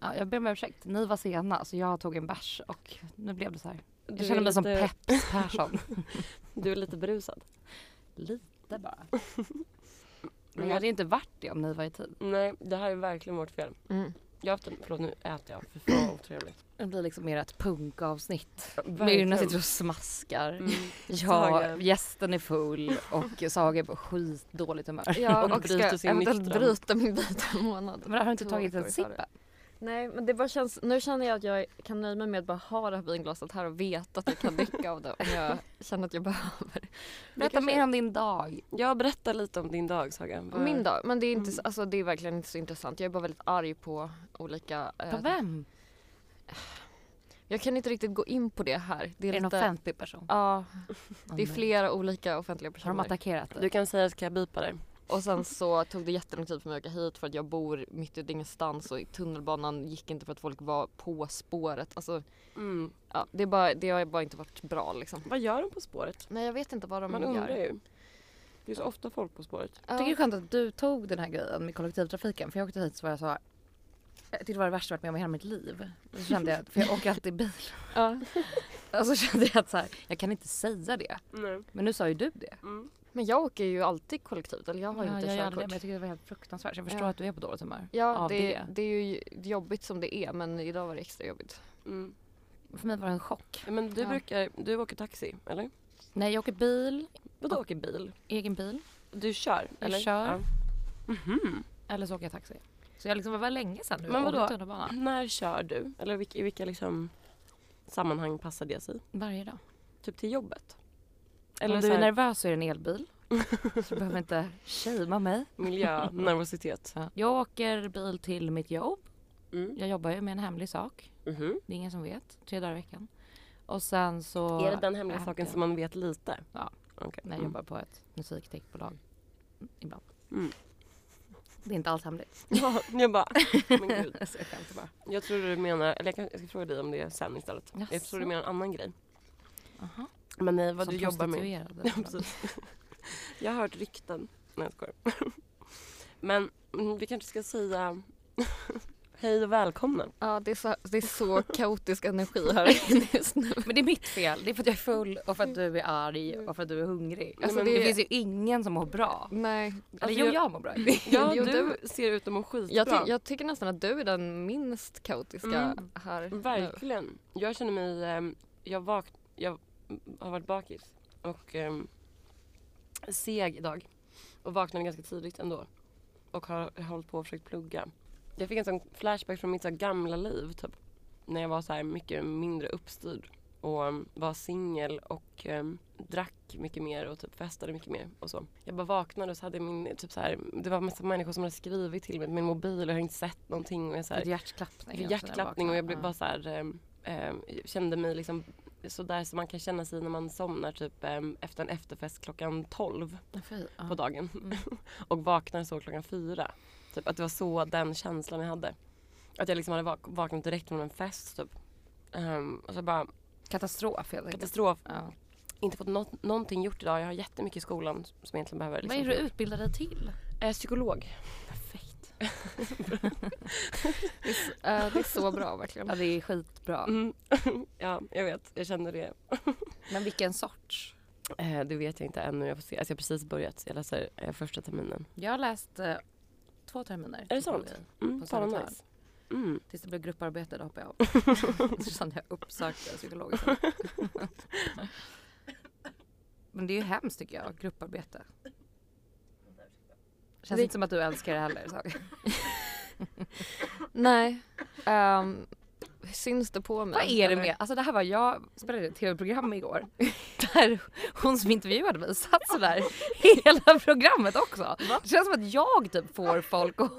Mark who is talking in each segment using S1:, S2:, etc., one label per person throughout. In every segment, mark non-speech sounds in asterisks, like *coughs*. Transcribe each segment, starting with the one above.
S1: Ja, jag ber om ursäkt, ni var sena så jag tog en bärs och nu blev det så här.
S2: Du
S1: Jag känner
S2: är
S1: mig som
S2: lite-
S1: Peps Persson.
S2: Du är lite berusad.
S1: *laughs* Lite bara. Men jag hade ju inte varit det om ni var i tid.
S2: Nej, det här är verkligen vårt fel.
S3: Mm.
S2: Jag har haft en, förlåt nu äter jag, för fan
S1: *clears throat*
S2: vad otrevligt.
S1: Det blir liksom mer ett punkavsnitt.
S2: Verkligen.
S1: Myrna sitter och smaskar.
S2: Mm.
S1: Ja,
S2: Saga.
S1: gästen är full och Saga är på skitdåligt humör.
S3: Ja,
S2: Och
S3: och,
S2: bryter
S3: ska
S2: sin
S3: eventuellt
S2: mikron.
S3: bryta min vita månad.
S1: Men har du inte
S3: Två
S1: tagit en
S3: veckor före.
S1: sipp?
S3: Nej, men det bara känns, nu känner jag att jag kan nöja mig med att bara ha det här vinglaset här och veta att jag kan *laughs* dricka av det om
S1: *laughs*
S3: jag känner att jag behöver.
S1: Berätta
S2: kanske-
S1: mer om din dag.
S2: Jag berättar lite om din dag Saga. Vad-
S3: Min dag, men det är, inte, så- alltså, det är verkligen inte så intressant. Jag är bara väldigt arg på olika... eh,
S1: På vem?
S3: jag kan inte riktigt gå in på det här.
S1: Är
S3: Det är,
S1: det en
S3: lite,
S1: offentlig person?
S3: Ja,
S1: Åh,
S3: det är
S1: nej.
S3: flera olika offentliga
S1: Har de
S3: personer.
S1: attackerat dig?
S2: Du kan säga ska jag bipa dig.
S3: Och sen så tog det jättelång tid för mig att åka hit för att jag bor mitt ute i ingenstans och tunnelbanan gick inte för att folk var på spåret. Alltså,
S2: Mm.
S3: ja, det, är bara, det har bara inte varit bra liksom.
S2: Vad gör de på spåret?
S3: Nej, jag vet inte vad de
S2: Man
S3: gör.
S2: undrar ju. Det är så ofta folk på spåret.
S3: Ja.
S1: Jag tycker det är skönt att du tog den här grejen med kollektivtrafiken för jag åkte hit så var jag så här, jag tyckte det var det värsta jag varit med om i hela mitt liv. Så kände jag, för jag åker alltid bil.
S3: Ja.
S1: Och så kände jag att så här, jag kan inte säga det.
S2: Nej.
S1: Men nu sa ju du det.
S2: Mm.
S3: Men jag åker ju alltid kollektivt, eller jag har ju
S1: Ja,
S3: inte
S1: jag, gör aldrig det,
S3: körkort.
S1: men jag tycker det var helt fruktansvärt. Så jag förstår
S3: Ja.
S1: att du är på dåligt humör.
S3: Ja,
S1: av
S3: det, det. är ju jobbigt som det är men idag var det extra jobbigt.
S2: Mm.
S1: För mig var det en chock.
S2: Ja, Men du
S3: Ja.
S2: brukar, du åker taxi eller?
S1: Nej, jag åker bil,
S2: Vadå åker bil?
S1: egen bil.
S2: Du kör?
S1: Jag
S2: eller? Mhm.
S1: kör.
S2: Ja.
S1: Eller så åker jag taxi. Så jag liksom, det var länge sedan nu.
S2: Men
S1: jag åkte
S2: vadå?
S1: tunnelbana.
S2: När kör du? Eller vilka, i vilka liksom sammanhang passar det sig?
S1: Varje dag.
S2: Typ till jobbet?
S1: Eller Om du
S2: så
S1: är
S2: här, *laughs*
S1: nervös så är det en
S3: *laughs*
S1: elbil. så du behöver inte shamea mig.
S2: miljö, nervositet?
S1: Jag åker bil till mitt jobb.
S2: Mm.
S1: Jag jobbar ju med en hemlig sak.
S2: Mhm.
S1: Det är ingen som vet. Tre dagar i veckan. Och sen så...
S2: Är det den hemliga
S1: Ja,
S2: saken
S1: det-
S2: som man vet lite?
S1: Ja.
S2: Okej.
S1: När jag jobbar på ett musiktekbolag. Mm, Ibland.
S2: Mm.
S1: Det är inte alls hemligt.
S2: *laughs* Ja, jag bara, men gud.
S1: Så jag skämtar bara.
S2: Jag tror du menar, eller jag, kan, jag ska fråga dig om det sen istället. Jag
S1: Jaså?
S2: tror du menar en annan grej.
S1: Aha.
S2: Men nej, vad
S1: Som
S2: du jobbar med.
S1: prostituerad eller
S2: *laughs* Ja,
S1: något. *laughs*
S2: precis. Jag har hört rykten. Nej, jag skojar. *laughs* Men mm, vi kanske ska säga *laughs* hej och välkomna.
S3: Ja, det är så, det är *laughs* så kaotisk energi här inne just nu.
S1: Men det är mitt fel. Det är för att jag är full och för att du är arg och för att du är hungrig.
S2: Nej,
S1: Mm. Alltså,
S2: men
S1: det...
S2: det-
S1: finns ju ingen som mår bra.
S3: Nej.
S1: Eller
S2: Alltså,
S1: jo,
S2: jag-
S1: jag mår
S2: *laughs*
S1: bra.
S2: Ja,
S3: Jo,
S2: du,
S3: du-
S2: ser ut att må skitbra.
S3: Jag, ty- jag tycker nästan att du är den minst kaotiska
S2: Mm.
S3: här nu.
S2: Verkligen. Jag känner mig... ehm, Jag, vak- jag har varit bakis och ehm, seg idag. Och vaknade ganska tidigt ändå. Och har hållit på och försökt plugga. Jag fick en sån flashback från mitt så här gamla liv. Typ, när jag var så här mycket mindre uppstyrd. Och ehm, var singel och ehm, drack mycket mer och typ festade mycket mer. Och så. Jag bara vaknade och så hade jag min, typ så här, det var massa människor som hade skrivit till mig på min mobil och jag har inte sett någonting. Och jag så här,
S1: Ett hjärtklappning. också
S2: fick
S1: när jag
S2: hjärtklappning och jag blev
S1: vaknade.
S2: bara så här, ehm, ehm, kände mig liksom så där som man kan känna sig när man somnar typ ehm, efter en efterfest klockan 12
S1: Ja. Fy, ja.
S2: på dagen *laughs* och vaknar så klockan 4. Typ att det var så den känslan jag hade. Att jag liksom hade vak- vaknat direkt från en fest typ. Ehm, och så bara
S1: Katastrof helt enkelt.
S2: katastrof.
S1: Ja.
S2: Inte fått nå- någonting gjort idag. Jag har jättemycket i skolan som jag egentligen behöver.
S1: Vad är
S2: Liksom.
S1: det du utbildar dig till?
S2: Eh, psykolog. Perfekt.
S3: Eh, det är så bra verkligen.
S1: Ja, det är skitbra.
S2: Mm. *laughs* ja, jag vet. Jag känner det.
S1: Men vilken sorts?
S2: Eh, det vet jag inte ännu. Jag får se. Alltså, jag har precis börjat. Jag läser eh, första terminen.
S1: Jag har läst eh, två terminer.
S2: Är det sant?
S1: psykologi
S2: Mm,
S1: På
S2: fan vad
S1: Södertörn.
S2: nice. Mm.
S1: Tills det blev grupparbete, då
S2: *laughs*
S1: hoppade jag av. Så kände jag uppsökte psykolog. Men det är ju hemskt tycker jag, grupparbete. Känns
S3: Det-
S1: inte som att du älskar det heller.
S2: *laughs*
S1: Så.
S3: Nej. Um, syns det på mig?
S1: Vad är det
S3: eller?
S1: med, alltså det här var jag spelade ett tv-program
S2: *laughs*
S1: igår där hon som intervjuade mig satt sådär hela programmet också. Det känns som att jag typ får folk och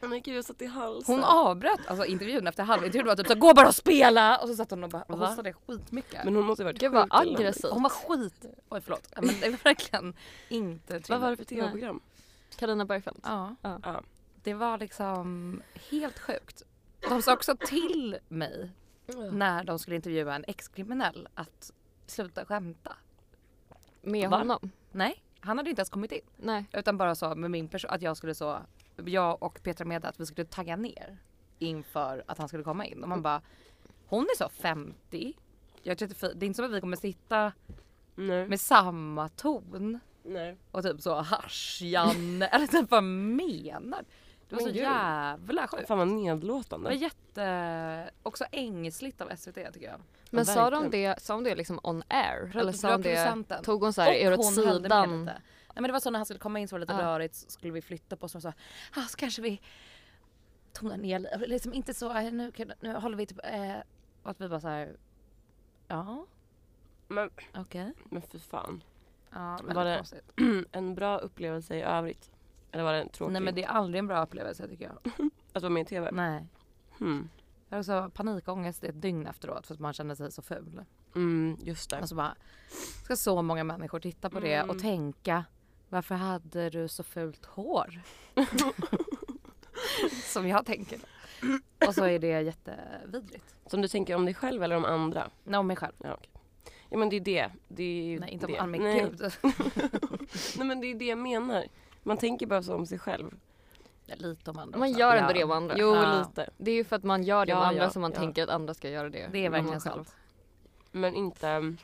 S2: Men gud, jag satt i halsen.
S1: hon avbröt alltså intervjun efter halva intervjun var typ såhär gå bara och spela och så satt hon och bara hostade skitmycket.
S2: Men hon måste ha varit
S3: Gud vad
S2: sjuk eller någonting.
S3: aggressivt.
S1: Hon var skit, oj förlåt, Ja, men det var verkligen inte
S2: Vad var det
S1: trevligt.
S2: för tv-program?
S3: Carina Bergfeldt.
S1: Ja,
S2: Ja.
S1: det var liksom helt sjukt. De sa också till mig
S2: Mm.
S1: när de skulle intervjua en ex-kriminell att sluta skämta.
S3: Med
S1: Va?
S3: honom?
S1: Nej, han hade inte ens kommit in.
S3: Nej.
S1: Utan bara sa med min person, att jag skulle så jag och Petra med att vi skulle tagga ner inför att han skulle komma in och man bara hon är så 50, jag är 34, det är inte som att vi kommer sitta
S2: Nej.
S1: med samma ton
S2: Nej.
S1: och typ så hasch Janne eller typ vad menar Det var
S2: Men
S1: så
S2: gud.
S1: jävla sjukt.
S2: Fan vad
S1: Det var
S2: nedlåtande.
S1: jätte, också ängsligt av SVT tycker jag.
S3: Men sa de
S2: verkligen.
S3: det, sa de det liksom on air? Eller sa
S1: var
S3: de det,
S1: producenten.
S3: tog hon så här er
S1: Och
S3: åt
S1: hon höll det med
S3: sidan?
S1: lite. Nej men det var så när han skulle komma in så var det lite
S3: Ja.
S1: rörigt så skulle vi flytta på oss och så sa ah, så kanske vi tonar ner lite, Eller liksom inte så, eh, nu, kan- nu håller vi typ, eh, och att vi bara så här. ja
S2: Men,
S1: okej.
S2: men för fan. *clears throat*
S1: Ja, väldigt
S2: Var det
S1: konstigt.
S2: en bra upplevelse i övrigt? Eller var det en tråkig?
S1: Nej men det är aldrig en bra upplevelse tycker jag.
S2: Att vara med i TV?
S1: Nej.
S2: Hmm.
S1: Jag hade så panikångest i ett dygn efteråt för att man kände sig så ful.
S2: Mm, just det.
S1: Alltså bara, ska så många människor titta på
S3: Mm.
S1: det och tänka varför hade du så fult hår? *laughs* Som jag tänker. Och så är det jättevidrigt.
S2: Som du tänker om dig själv eller om andra?
S1: Nej, om mig själv.
S2: Ja, okej. ja men det är det. det är ju
S1: Nej, inte om
S2: det.
S1: all min
S2: Nej.
S1: gud.
S2: Nej men det är det jag menar. Man tänker bara så om sig själv.
S1: Ja, Lite om andra
S3: Man
S1: också.
S3: gör
S1: Ja.
S3: ändå det om andra.
S2: Jo
S1: Mm. Ja.
S2: lite.
S3: Det är ju för att man gör det om
S2: Ja,
S3: andra
S2: ja,
S3: som man
S2: ja.
S3: tänker att andra ska göra det.
S1: Det är
S3: om
S1: verkligen
S3: en själv.
S1: sant.
S2: Men inte,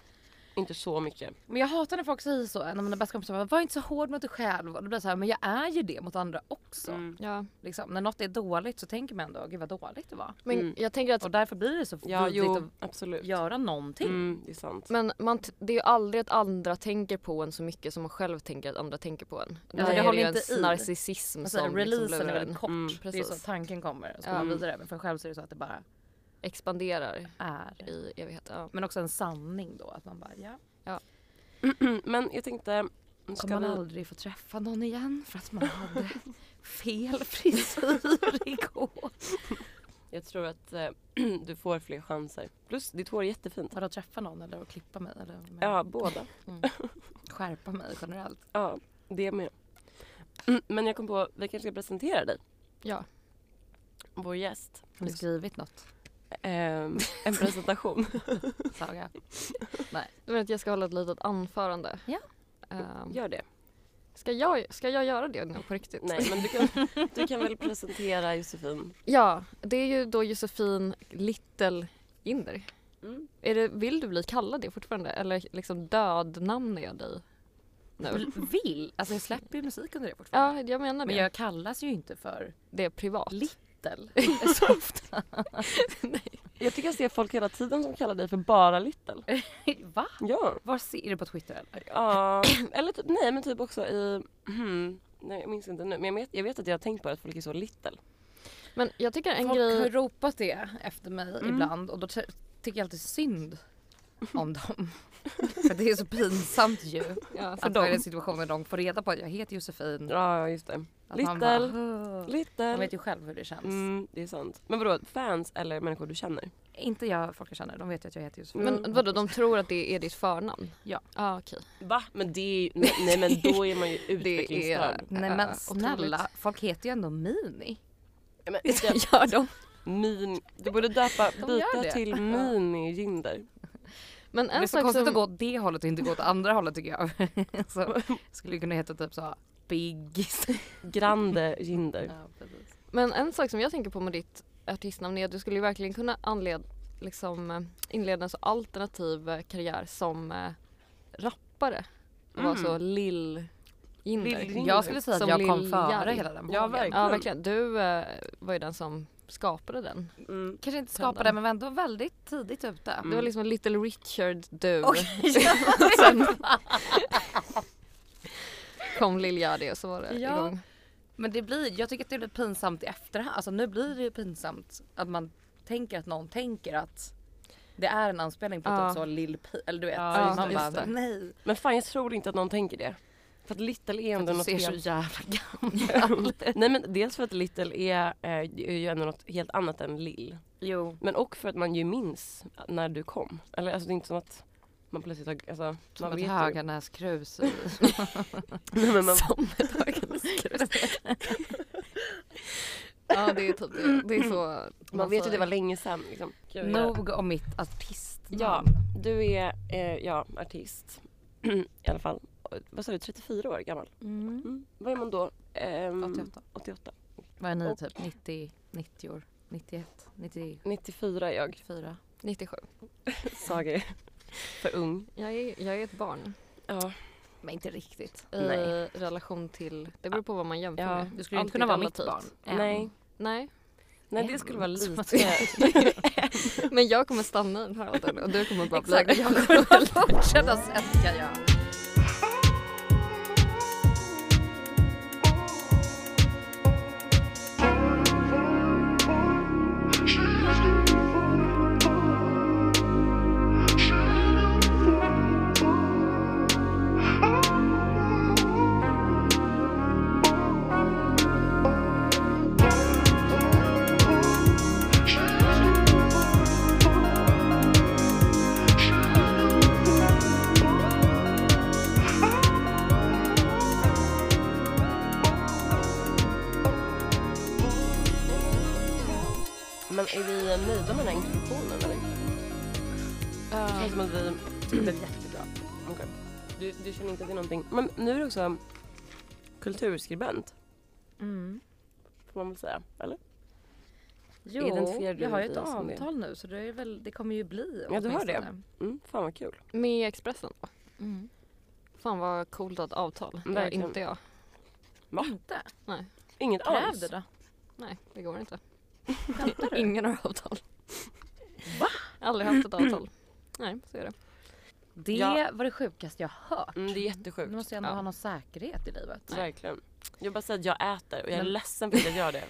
S2: inte så mycket.
S1: Men jag hatar när folk säger så. En av mina bästa kompisar bara, var inte så hård mot dig själv. Och då blir jag så här, men jag är ju det mot andra också.
S2: Mm.
S3: Ja.
S1: Liksom, när något är dåligt så tänker man ändå, gud vad dåligt det var.
S3: Men
S2: Mm.
S3: jag tänker att
S1: Och därför blir det så
S2: Ja,
S1: vidrigt
S2: jo,
S1: att
S2: absolut.
S1: göra någonting.
S2: Mm, det är sant.
S3: men man t- det är ju aldrig att andra tänker på en så mycket som man själv tänker att andra tänker på en. Där
S1: det
S3: är
S1: håller
S3: ju
S1: inte
S3: ens
S1: i.
S3: narcissism
S1: Alltså,
S3: som
S1: releasen
S3: liksom
S1: är
S3: lurar
S1: väldigt
S3: en.
S1: kort.
S2: Mm,
S1: det är så
S3: precis.
S1: tanken kommer. Och så går
S3: Ja.
S1: man vidare. Men för själv så är det så att det bara
S3: Expanderar
S1: är.
S3: i evighet. Ja.
S1: Men också en sanning då. Att man bara, ja.
S2: *clears throat* Men jag tänkte, nu ska
S1: Kommer man
S2: vi...
S1: aldrig få träffa någon igen för att man hade *laughs* fel frisyr *laughs* igår.
S2: Jag tror att eh, *clears throat* du får fler chanser. Plus ditt hår är jättefint.
S1: Vadå träffa någon eller att klippa mig eller med-
S2: Ja, båda.
S1: skärpa mig generellt.
S2: Ja, det med. *clears throat* Mm, Men jag kom på, vi kanske ska presentera dig.
S3: ja.
S2: Vår gäst.
S1: Har du skrivit något
S2: Ehm, *laughs* en presentation.
S1: Saga?
S3: Du menar att jag ska hålla ett litet anförande?
S1: Ja.
S3: Ehm,
S2: Gör det.
S3: ska, jag, ska jag göra det nu på riktigt?
S2: Nej, men du kan, du kan väl presentera Josefin.
S3: Ja, det är ju då Josefin Little Inder.
S2: Mm.
S3: Är det, vill du bli kallad det fortfarande eller liksom dödnamnar jag dig
S1: *laughs*
S3: nu?
S1: Vill- Vill? Alltså jag släpper ju musik under det fortfarande.
S3: Ja, jag menar det.
S1: Men jag kallas ju inte för
S3: Det är privat.
S1: Little *laughs* så ofta.
S2: Jag tycker jag ser folk hela tiden som kallar dig för bara Little.
S1: Va?
S2: Ja.
S1: Var ser du på Twitter eller?
S2: ja. *clears throat* Eller typ, nej men typ också i... *clears throat* Hmm, nej, jag minns inte nu. Men jag vet, jag vet att jag har tänkt på det, att folk är så Little.
S3: Men jag tycker en
S1: Folk har
S3: grej... Mm.
S1: ropat det efter mig ibland och då ty- tycker jag alltid synd
S3: *laughs*
S1: om dem. För det är så pinsamt ju.
S3: Ja,
S1: För
S3: för
S1: att vara i
S3: dem.
S1: den situationen de får reda på att jag heter Josefin.
S2: Ja, just det.
S1: Att man bara,
S2: Little,
S1: "Åh." man
S2: little.
S1: vet ju själv hur det känns.
S2: Mm, det är sant. Men vadå, fans eller människor du känner?
S1: Inte jag, folk jag känner, de vet ju att jag heter Josefin.
S3: Men vadå, de tror att det är ditt förnamn?
S1: Ja.
S3: Ah, okej.
S2: Va? Men det är ju, nej, nej men då är *laughs* man ju utvecklingsstörd.
S1: Nej
S3: äh,
S1: men snälla,
S3: otroligt.
S1: folk heter ju ändå Mini.
S2: Nej, men inte-
S1: Gör de?
S2: Min, du borde döpa,
S1: gör det.
S2: byta till mini-Jinder.
S3: Men
S1: Det är
S3: en
S1: så
S3: sak
S1: konstigt att gå
S3: som...
S1: åt det hållet och inte gå åt andra hållet tycker jag. *laughs* så, skulle ju kunna heta typ så Biggis.
S2: Grande Jinder.
S1: Ja, precis.
S3: Men en sak som jag tänker på med ditt artistnamn är att du skulle ju verkligen kunna anled, liksom, eh, inleda en så alternativ eh, karriär som eh, rappare. Och vara så lill Jinder.
S2: Mm. Lill
S1: Jag skulle säga att
S3: Som
S1: jag kom
S3: Lil
S1: före
S3: Jarl.
S1: hela den
S2: Ja,
S1: vågen.
S2: verkligen.
S3: Ja verkligen. Du eh, var ju den som skapade den.
S2: Mm.
S1: Kanske inte skapade men var ändå väldigt tidigt ute.
S3: Det var liksom en Little Richard du. *laughs*
S1: Sen-
S3: Kom Lil Yadi och så var det
S1: Ja.
S3: igång.
S1: men det blir, jag tycker att det blir pinsamt i efterhand. Alltså nu blir det ju pinsamt att man tänker att någon tänker att det är en anspelning på
S3: Ja.
S1: typ så lill Pi- eller du vet.
S2: Ja,
S1: så
S2: just
S1: man
S2: det,
S1: bara
S2: just det.
S1: nej.
S2: Men fan jag tror inte att någon tänker det. För att Little är ändå
S1: Du
S2: något
S1: ser så
S2: helt...
S1: jävla gammal
S2: *laughs* Nej men dels för att Little är, eh, är ju ändå något helt annat än Lill.
S1: Jo.
S2: Men och för att man ju minns när du kom. Eller alltså det är inte som att man plötsligt har... Alltså, man
S1: Som ett *laughs*
S2: ju.
S1: Höganäskrus. i-
S2: *laughs* Nej, men man,
S3: *laughs* Ja det är typ det. Det är så.
S2: man vet ju att det
S3: säger.
S2: var länge sedan. Liksom.
S1: Nog om mitt artistnamn.
S2: Ja, du är eh, ja, artist. *clears throat* I alla fall. Vad sa du, 34 år gammal?
S1: Mm.
S2: Mm. Vad är man då? Ehm,
S1: 88.
S2: 88.
S1: Vad är ni
S2: Och-
S1: typ? 90, 90 år? 91? 94?
S2: 94 är jag.
S3: 97.
S2: Saga är för ung.
S3: Jag är, jag är ett barn
S2: Ja.
S1: Men inte riktigt.
S3: i
S2: Nej.
S3: relation till, det beror på vad man jämför
S2: Ja.
S3: med.
S1: Du skulle ju
S3: Allt
S1: inte kunna
S3: är
S1: vara mitt
S3: relativt.
S1: barn. än. *laughs*
S2: Nej.
S3: Nej,
S2: Nej det skulle vara
S1: Som
S2: lite.
S1: att jag-
S3: *laughs* men jag kommer stanna i den här åldern och du kommer bara bli
S1: Exakt, jag kommer bara
S3: *laughs*
S1: fortsätta sätta jag.
S2: *laughs* Men är vi nöjda med den här introduktionen eller? Det känns som att vi tyckte det är jättebra. Okej. Du, du känner inte att det är någonting. Men nu är du också kulturskribent
S1: Mm.
S2: får man väl säga. Eller?
S1: Jo,
S2: Identifierar du
S1: jag har ju ett
S2: dig som det?
S1: avtal nu så det, är väl, det kommer ju bli
S2: Ja, du har det.
S1: åtminstone.
S2: Mm, fan vad kul.
S3: med Expressen.
S1: Mm.
S3: Fan vad coolt att avtal. Det har
S2: Verkligen.
S3: inte jag.
S1: Inte?
S2: Inget
S1: Kräv
S2: alls.
S1: det då.
S3: Nej, det går inte.
S1: Skämtar du?
S3: *laughs* Ingen har avtal. Va? Aldrig haft ett avtal. *clears throat* Nej, så är det.
S1: Det
S2: Ja.
S1: var det sjukaste jag hört.
S2: Mm, det är
S1: Nu
S2: jättesjukt.
S1: måste jag ändå
S3: Ja.
S1: ha någon säkerhet i livet.
S2: Verkligen. Jag bara säger att jag äter och jag är
S1: Men-
S2: ledsen för att jag
S1: *laughs*
S2: gör det.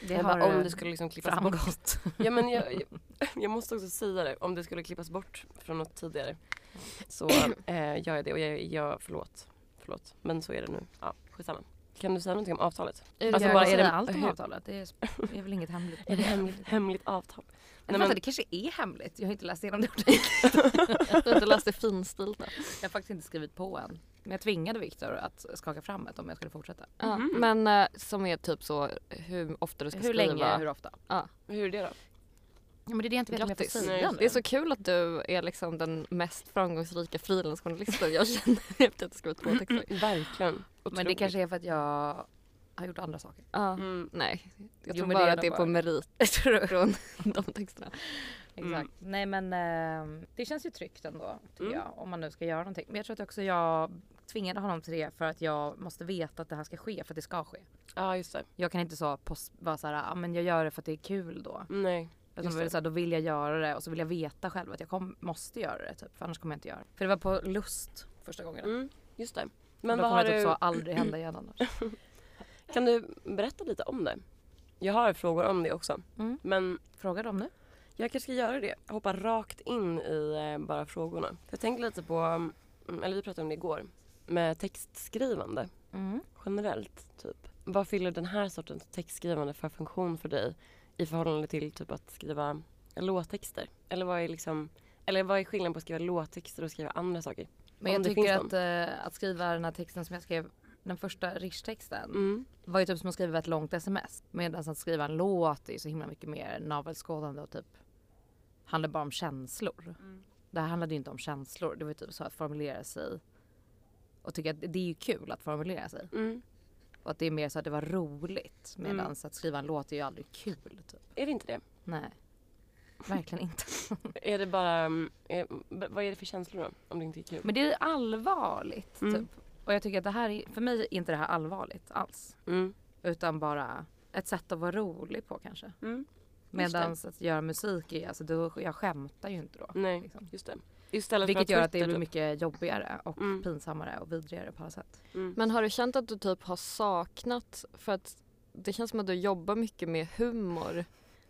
S1: Det har
S2: jag bara, om
S1: eh,
S2: det skulle liksom klippas bort.
S1: framgått.
S2: Ja, men jag, jag, *laughs* jag måste också säga det, om det skulle klippas bort från något tidigare
S1: *coughs*
S2: så eh, gör jag det. Och jag, jag, förlåt, förlåt, men så är det nu. Ja, skitsamma. Kan du säga någonting om avtalet?
S3: Är
S1: Alltså,
S2: Alltså,
S1: jag
S2: bara,
S1: bara,
S2: är det-
S3: *laughs*
S1: säga allt om
S2: hur-
S1: avtalet. Det är, det är väl inget *laughs* hemligt.
S2: Är det hemligt, hemligt avtal?
S1: Nej,
S2: Nej,
S1: men...
S2: men,
S1: Det kanske är hemligt. Jag har inte läst igenom det ordentligt.
S3: Du har inte läst det finstilta.
S1: Jag har faktiskt inte skrivit på än. Men jag tvingade Viktor att skaka fram ett om jag skulle fortsätta.
S3: Ja,
S2: Mhm.
S3: Men eh, som är typ så hur ofta du ska
S1: Hur
S3: skriva.
S1: länge, hur ofta?
S2: hur är det då?
S1: Ja, men det är det jag inte vet om jag får
S3: Grattis.
S1: säga
S2: Nej,
S3: Det är
S1: nu.
S3: så kul att du är liksom den mest framgångsrika frilansjournalisten jag *laughs* känner efter att jag skrivit två texter.
S2: Verkligen.
S1: Men det kanske är för att jag har gjort andra saker.
S3: Ja.
S2: Mm.
S3: Nej, jag
S1: Jo,
S3: tror
S1: men
S3: bara
S1: det är
S3: att det är
S1: nog
S3: på
S1: bara-
S3: merit *laughs* från de texterna.
S1: Exakt. Nej men eh, det känns ju tryggt ändå tycker
S2: Mm.
S1: jag om man nu ska göra någonting. Men jag tror att också jag tvingade honom till det för att jag måste veta att det här ska ske för att det ska ske.
S2: Ja, just det.
S1: Jag kan inte så post, bara såhär, ah, men jag gör det för att det är kul då.
S2: Nej.
S1: Utan
S2: Just
S1: det.
S2: det.
S1: Så här, då vill jag göra det och så vill jag veta själv att jag kom, måste göra det typ, för annars kommer jag inte göra det. För det var på lust första gången.
S2: Mm, just det.
S1: Men
S2: Men
S1: då
S2: vad
S1: kommer
S2: har
S1: det typ
S2: du,
S1: så aldrig hända igen annars.
S2: kan du berätta lite om det? Jag har frågor om det också.
S1: *clears throat* Mm.
S2: Men
S1: Fråga dem nu.
S2: Jag kanske ska göra det. Hoppa rakt in i eh, bara frågorna. Jag tänkte lite på, mm, eller vi pratade om det igår, med textskrivande
S1: Mm.
S2: generellt. typ. Vad fyller den här sortens textskrivande för funktion för dig i förhållande till typ att skriva låttexter? Eller vad är, liksom, eller vad är skillnaden på att skriva låttexter och skriva andra saker?
S1: Men
S2: Om
S1: jag
S2: det
S1: tycker att,
S2: finns
S1: eh, att skriva den här texten som jag skrev, den första Rish-texten
S2: Mm.
S1: var ju typ som att skriva ett långt sms. Medan att skriva en låt är så himla mycket mer navelskådande och typ handlar bara om känslor. Det här handlade ju inte om känslor, det var ju typ så att formulera sig och tycka att det är ju kul att formulera sig.
S2: Mm.
S1: Och att det är mer så att det var roligt. Medan
S2: Mm.
S1: att skriva en låt är ju aldrig kul typ.
S2: Är det inte det?
S1: Nej. Verkligen inte.
S2: Är det bara, mm, är, b- vad är det för känslor då? Om det inte är kul?
S1: Men det är ju allvarligt
S2: Mm.
S1: typ. Och jag tycker att det här, är, för mig är inte det här allvarligt alls.
S2: Mm.
S1: Utan bara ett sätt att vara rolig på kanske.
S2: Mm. Just det.
S1: Medan att göra musik är, alltså då, jag skämtar ju inte då.
S2: Nej,
S1: Liksom.
S2: just det. Istället
S1: Vilket
S2: för
S1: gör att det
S2: Twitter,
S1: blir
S2: typ.
S1: mycket jobbigare och
S2: Mm.
S1: pinsammare och vidrigare på alla sätt.
S2: Mm.
S3: Men har du känt att du typ har saknat för att det känns som att du jobbar mycket med humor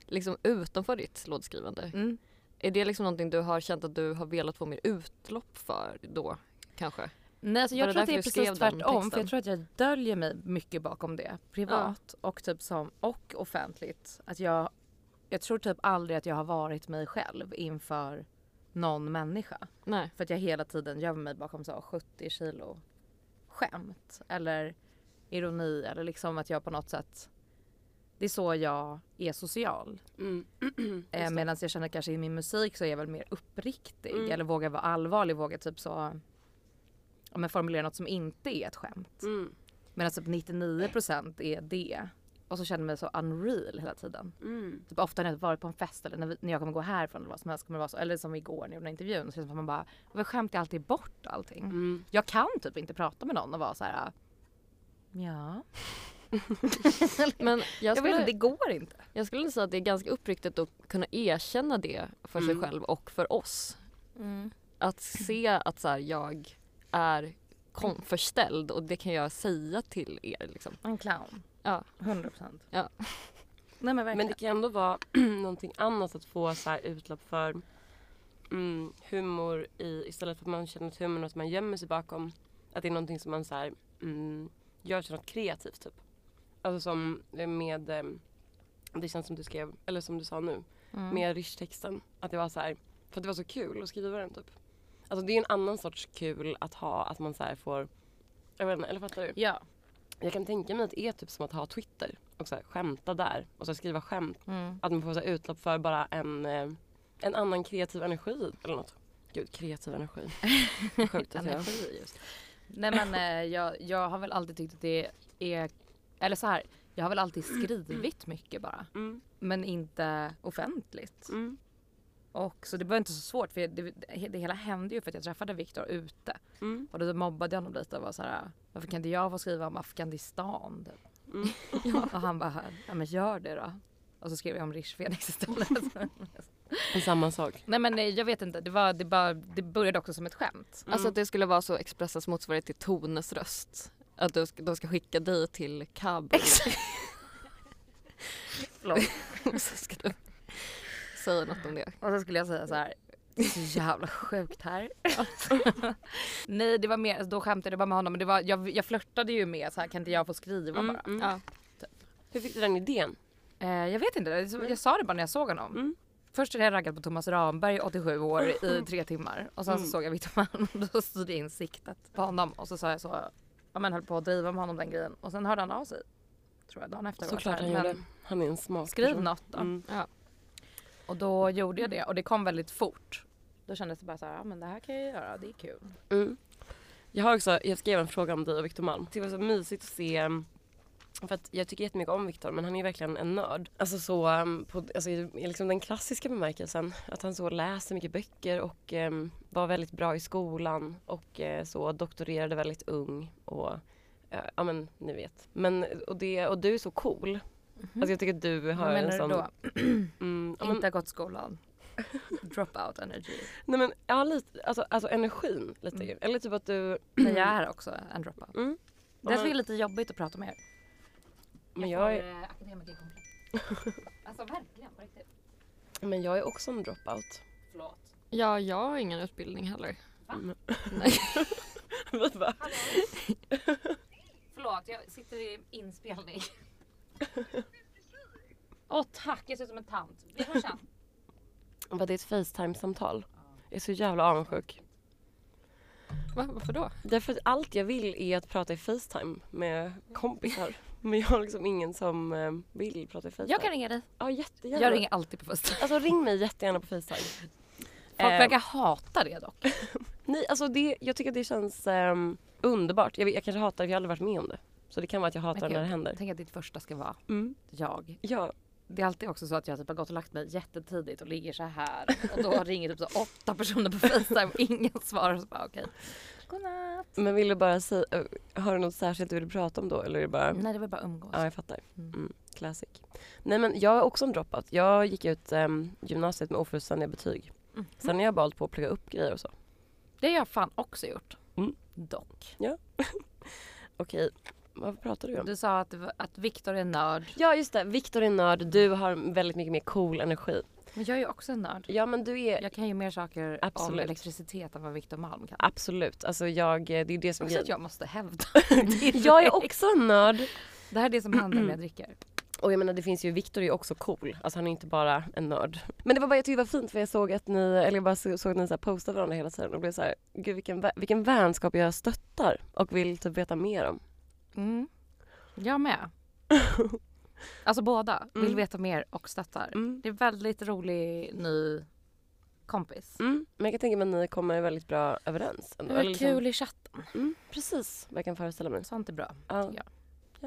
S3: liksom utanför ditt låtskrivande.
S1: Mm.
S3: Är det liksom någonting du har känt att du har velat få mer utlopp för då kanske?
S1: Nej, alltså
S3: Var
S1: jag
S3: det
S1: tror att det är
S3: därför
S1: precis
S3: du skrev den
S1: tvärtom. För
S3: texten?
S1: jag tror att jag döljer mig mycket bakom det. Privat och, typ som, och offentligt. Att jag, jag tror typ aldrig att jag har varit mig själv inför någon människa. *laughs*
S3: Nej.
S1: För att jag hela tiden gömmer mig bakom så 70 kilo skämt eller ironi eller liksom att jag på något sätt det är så jag är social.
S2: Mm. *clears throat*
S1: Eh, Medan jag känner kanske i min musik så är jag väl mer uppriktig
S2: Mm.
S1: eller vågar vara allvarlig, vågar typ så ja, men formulera något som inte är ett skämt.
S2: Mm.
S1: Medan typ 99% är det Och så känner jag mig så unreal hela tiden.
S2: Mm.
S1: Typ ofta när jag varit på en fest eller när, vi, när jag kommer gå härifrån eller vad som helst kommer det vara så. Eller som igår när jag gjorde den här intervjun så känns det som att man bara, varför skämtar jag alltid bort allting?
S2: Mm.
S1: Jag kan typ inte prata med någon och vara så här. "Ah." Ja.
S3: Men jag
S1: Jag vet
S3: skulle,
S1: inte,
S3: jag,
S1: det går inte.
S3: skulle nog säga att det är ganska uppriktigt att kunna erkänna det för sig
S2: Mm.
S3: själv och för oss. Att se att så här, jag är kom, förställd och det kan jag säga till er. Liksom.
S1: En clown.
S3: Ja.
S1: 100 procent.
S3: Ja.
S1: Nej men verkligen.
S2: Men det kan ändå vara *clears throat* någonting annat att få så här utlopp för mm, humor i, istället för att man känner att humorn är att man gömmer sig bakom. Att det är någonting som man så här, mm, gör till något kreativt typ. Alltså som med, eh, det känns som du skrev, eller som du sa nu,
S1: Mm.
S2: med ryschtexten. Att det var så här, för att det var så kul att skriva den typ. Alltså det är en annan sorts kul att ha, att man så här får, jag vet inte, eller fattar du?
S1: Ja.
S2: Jag kan tänka mig att det är typ som att ha Twitter och så här, skämta där och så här, skriva skämt
S1: Mm.
S2: att man får så här utlopp för bara en, eh, en annan kreativ energi eller något. Gud,
S1: *laughs*
S2: kreativ energi. Sjukt att jag...
S1: Energi just. Nej men eh, jag, jag har väl alltid tyckt att det är, eller så här, jag har väl alltid skrivit mycket bara.
S2: Mm,
S1: Men inte offentligt.
S2: mm,
S1: Och så det var inte så svårt för det, det, det hela hände ju för att jag träffade Viktor ute.
S2: mm,
S1: Och då mobbade jag honom lite och var så här, varför kan inte jag få skriva om Afghanistan? typ?
S2: mm.
S1: Och han bara, *laughs* ja men gör det då. Och så skrev jag om Rish Phoenix
S2: *laughs*
S1: istället.
S2: Det är Samma sak.
S1: Nej men eh, jag vet inte, det, var, det, bara, det började också som ett skämt.
S3: Alltså att det skulle vara så Expressens motsvarighet till Tones röst. Att de ska, de ska skicka dig till Kabul. *laughs*
S1: Förlåt.
S3: och så ska du säga något om det.
S1: Och så skulle jag säga så här, det är så jävla sjukt här. *laughs* Nej det var mer, då skämtade jag bara med honom men det var, jag, jag flörtade ju med så här, kan inte jag få skriva
S2: Mm,
S1: bara?
S2: mm.
S3: Ja.
S2: Hur fick du den idén?
S1: Eh, jag vet inte, det är så- jag sa det bara när jag såg honom.
S2: Mm.
S1: Först hade jag raggat på Thomas Ramberg, 87 år, i tre timmar. Och sen så
S2: Mm.
S1: såg jag Victor Malm *laughs* och då styrde jag in siktet på honom. Och så sa jag så, ja men höll på att driva med honom den grejen. Och sen hörde han av sig. Tror jag, dagen efter. var det
S2: Såklart
S1: så
S2: han
S1: här,
S2: gjorde.
S1: men
S2: Han är en smart
S1: Skriv
S2: person.
S1: något då.
S2: Mm.
S1: Och då gjorde jag det och det kom väldigt fort. Då kändes det bara så här, ja men det här kan jag göra, det är kul.
S2: Mm. Jag har också, jag skrev en fråga om dig och Victor Malm. Det var så mysigt att se um, för att jag tycker jättemycket om Victor men han är ju verkligen en nörd. Alltså så um, på, alltså, i i liksom den klassiska bemärkelsen. Att han så läste mycket böcker och um, var väldigt bra i skolan och eh, så doktorerade väldigt ung och eh, ja men ni vet. Men och, det, och du är så cool. Alltså jag tycker att du har
S1: Mhm. Vad menar
S2: en
S1: du
S2: sån...
S1: då?
S2: Mm, ja, men,
S1: Inte har gått skolan. Drop out
S2: *clears throat*
S1: energy.
S2: nej men ja lite, alltså, alltså energin lite
S1: Mm.
S2: ju. Eller typ att du...
S1: Men jag är också en drop out.
S2: Mm. Ja,
S1: Därför är
S2: men-
S1: det lite jobbigt att prata med er.
S2: Men jag är,
S1: får eh, akademikerkomplex. *laughs* alltså verkligen, på riktigt.
S2: Men jag är också en dropout.
S1: Förlåt.
S3: ja, jag har ingen utbildning heller.
S2: Vi bara,
S1: Förlåt, jag sitter i *laughs* inspelning. Åh tack, jag ser ut som en tant. Vi hörs sen.
S2: bara, det är ett Facetime-samtal. Jag är så jävla avundsjuk.
S3: Va, varför då?
S2: Därför att allt jag vill är att prata i Facetime med kompisar. Men jag har liksom ingen som eh, vill prata i
S1: *laughs*
S2: Facetime.
S1: Jag kan ringa dig.
S2: Ja, jättegärna.
S1: Jag ringer alltid på första.
S2: Alltså ring mig jättegärna på Facetime.
S1: Folk
S2: Eh,
S1: verkar hata det dock.
S2: Nej, alltså det, jag tycker att det känns ehm, underbart. Jag, vet- jag kanske hatar det, för jag har aldrig varit med om det. Så det kan vara att jag hatar
S1: Men
S2: när det
S1: gud,
S2: händer.
S1: Tänk att ditt första ska vara
S2: Mm.
S1: jag.
S2: Ja,
S1: Det är alltid också så att jag typ har gått och lagt mig jättetidigt och ligger så här och då ringer typ så åtta personer på Facetime och ingen svarar. Och så bara okej. Godnatt.
S2: men vill du bara säga, eh, har du något särskilt du vill prata om då? Eller är det bara...
S1: Nej det var bara umgås.
S2: Ja, jag fattar.
S1: Mm.
S2: Mm. Classic. Nej men jag är också en dropout. Jag gick ut ehm, gymnasiet med ofullständiga betyg.
S1: Mhm.
S2: Sen har jag valt på att plugga upp grejer och så.
S1: Det har jag fan också gjort.
S2: Mm.
S1: Dock.
S2: *laughs* Okej, vad pratar du om?
S1: Du sa att, att Viktor är nörd.
S2: Ja just det, Viktor är nörd, du har väldigt mycket mer cool energi.
S1: Men jag är ju också en nörd.
S2: Ja men du är
S1: Jag kan ju mer saker om
S2: Absolut.
S1: elektricitet än vad Viktor Malm kan.
S2: absolut, alltså jag, eh, det är ju det som är
S1: Också att
S2: grejen.
S1: jag måste *laughs* hävda.
S2: Jag är också en nörd.
S1: Det här är det som händer när jag dricker.
S2: Och jag menar det finns ju, Viktor är ju också cool. Alltså han är inte bara en nörd. Men det var bara, jag tyckte det var fint för jag såg att ni, eller jag bara så- såg att ni så här postade varandra hela tiden och blev så här, gud vilken, vä- vilken vänskap jag stöttar och vill typ veta mer om.
S1: Mm. Jag
S2: *laughs*
S1: med. Alltså båda vill
S2: Mm.
S1: veta mer och stöttar.
S2: Mm.
S1: Det är väldigt rolig ny kompis.
S2: Mm. Men jag kan tänka mig att ni kommer väldigt bra överens. ändå.
S1: Det är
S2: Eller liksom-
S1: kul i chatten.
S2: Mm, precis vad jag kan föreställa mig.
S1: Sånt är bra.
S2: Ja.
S1: tycker jag.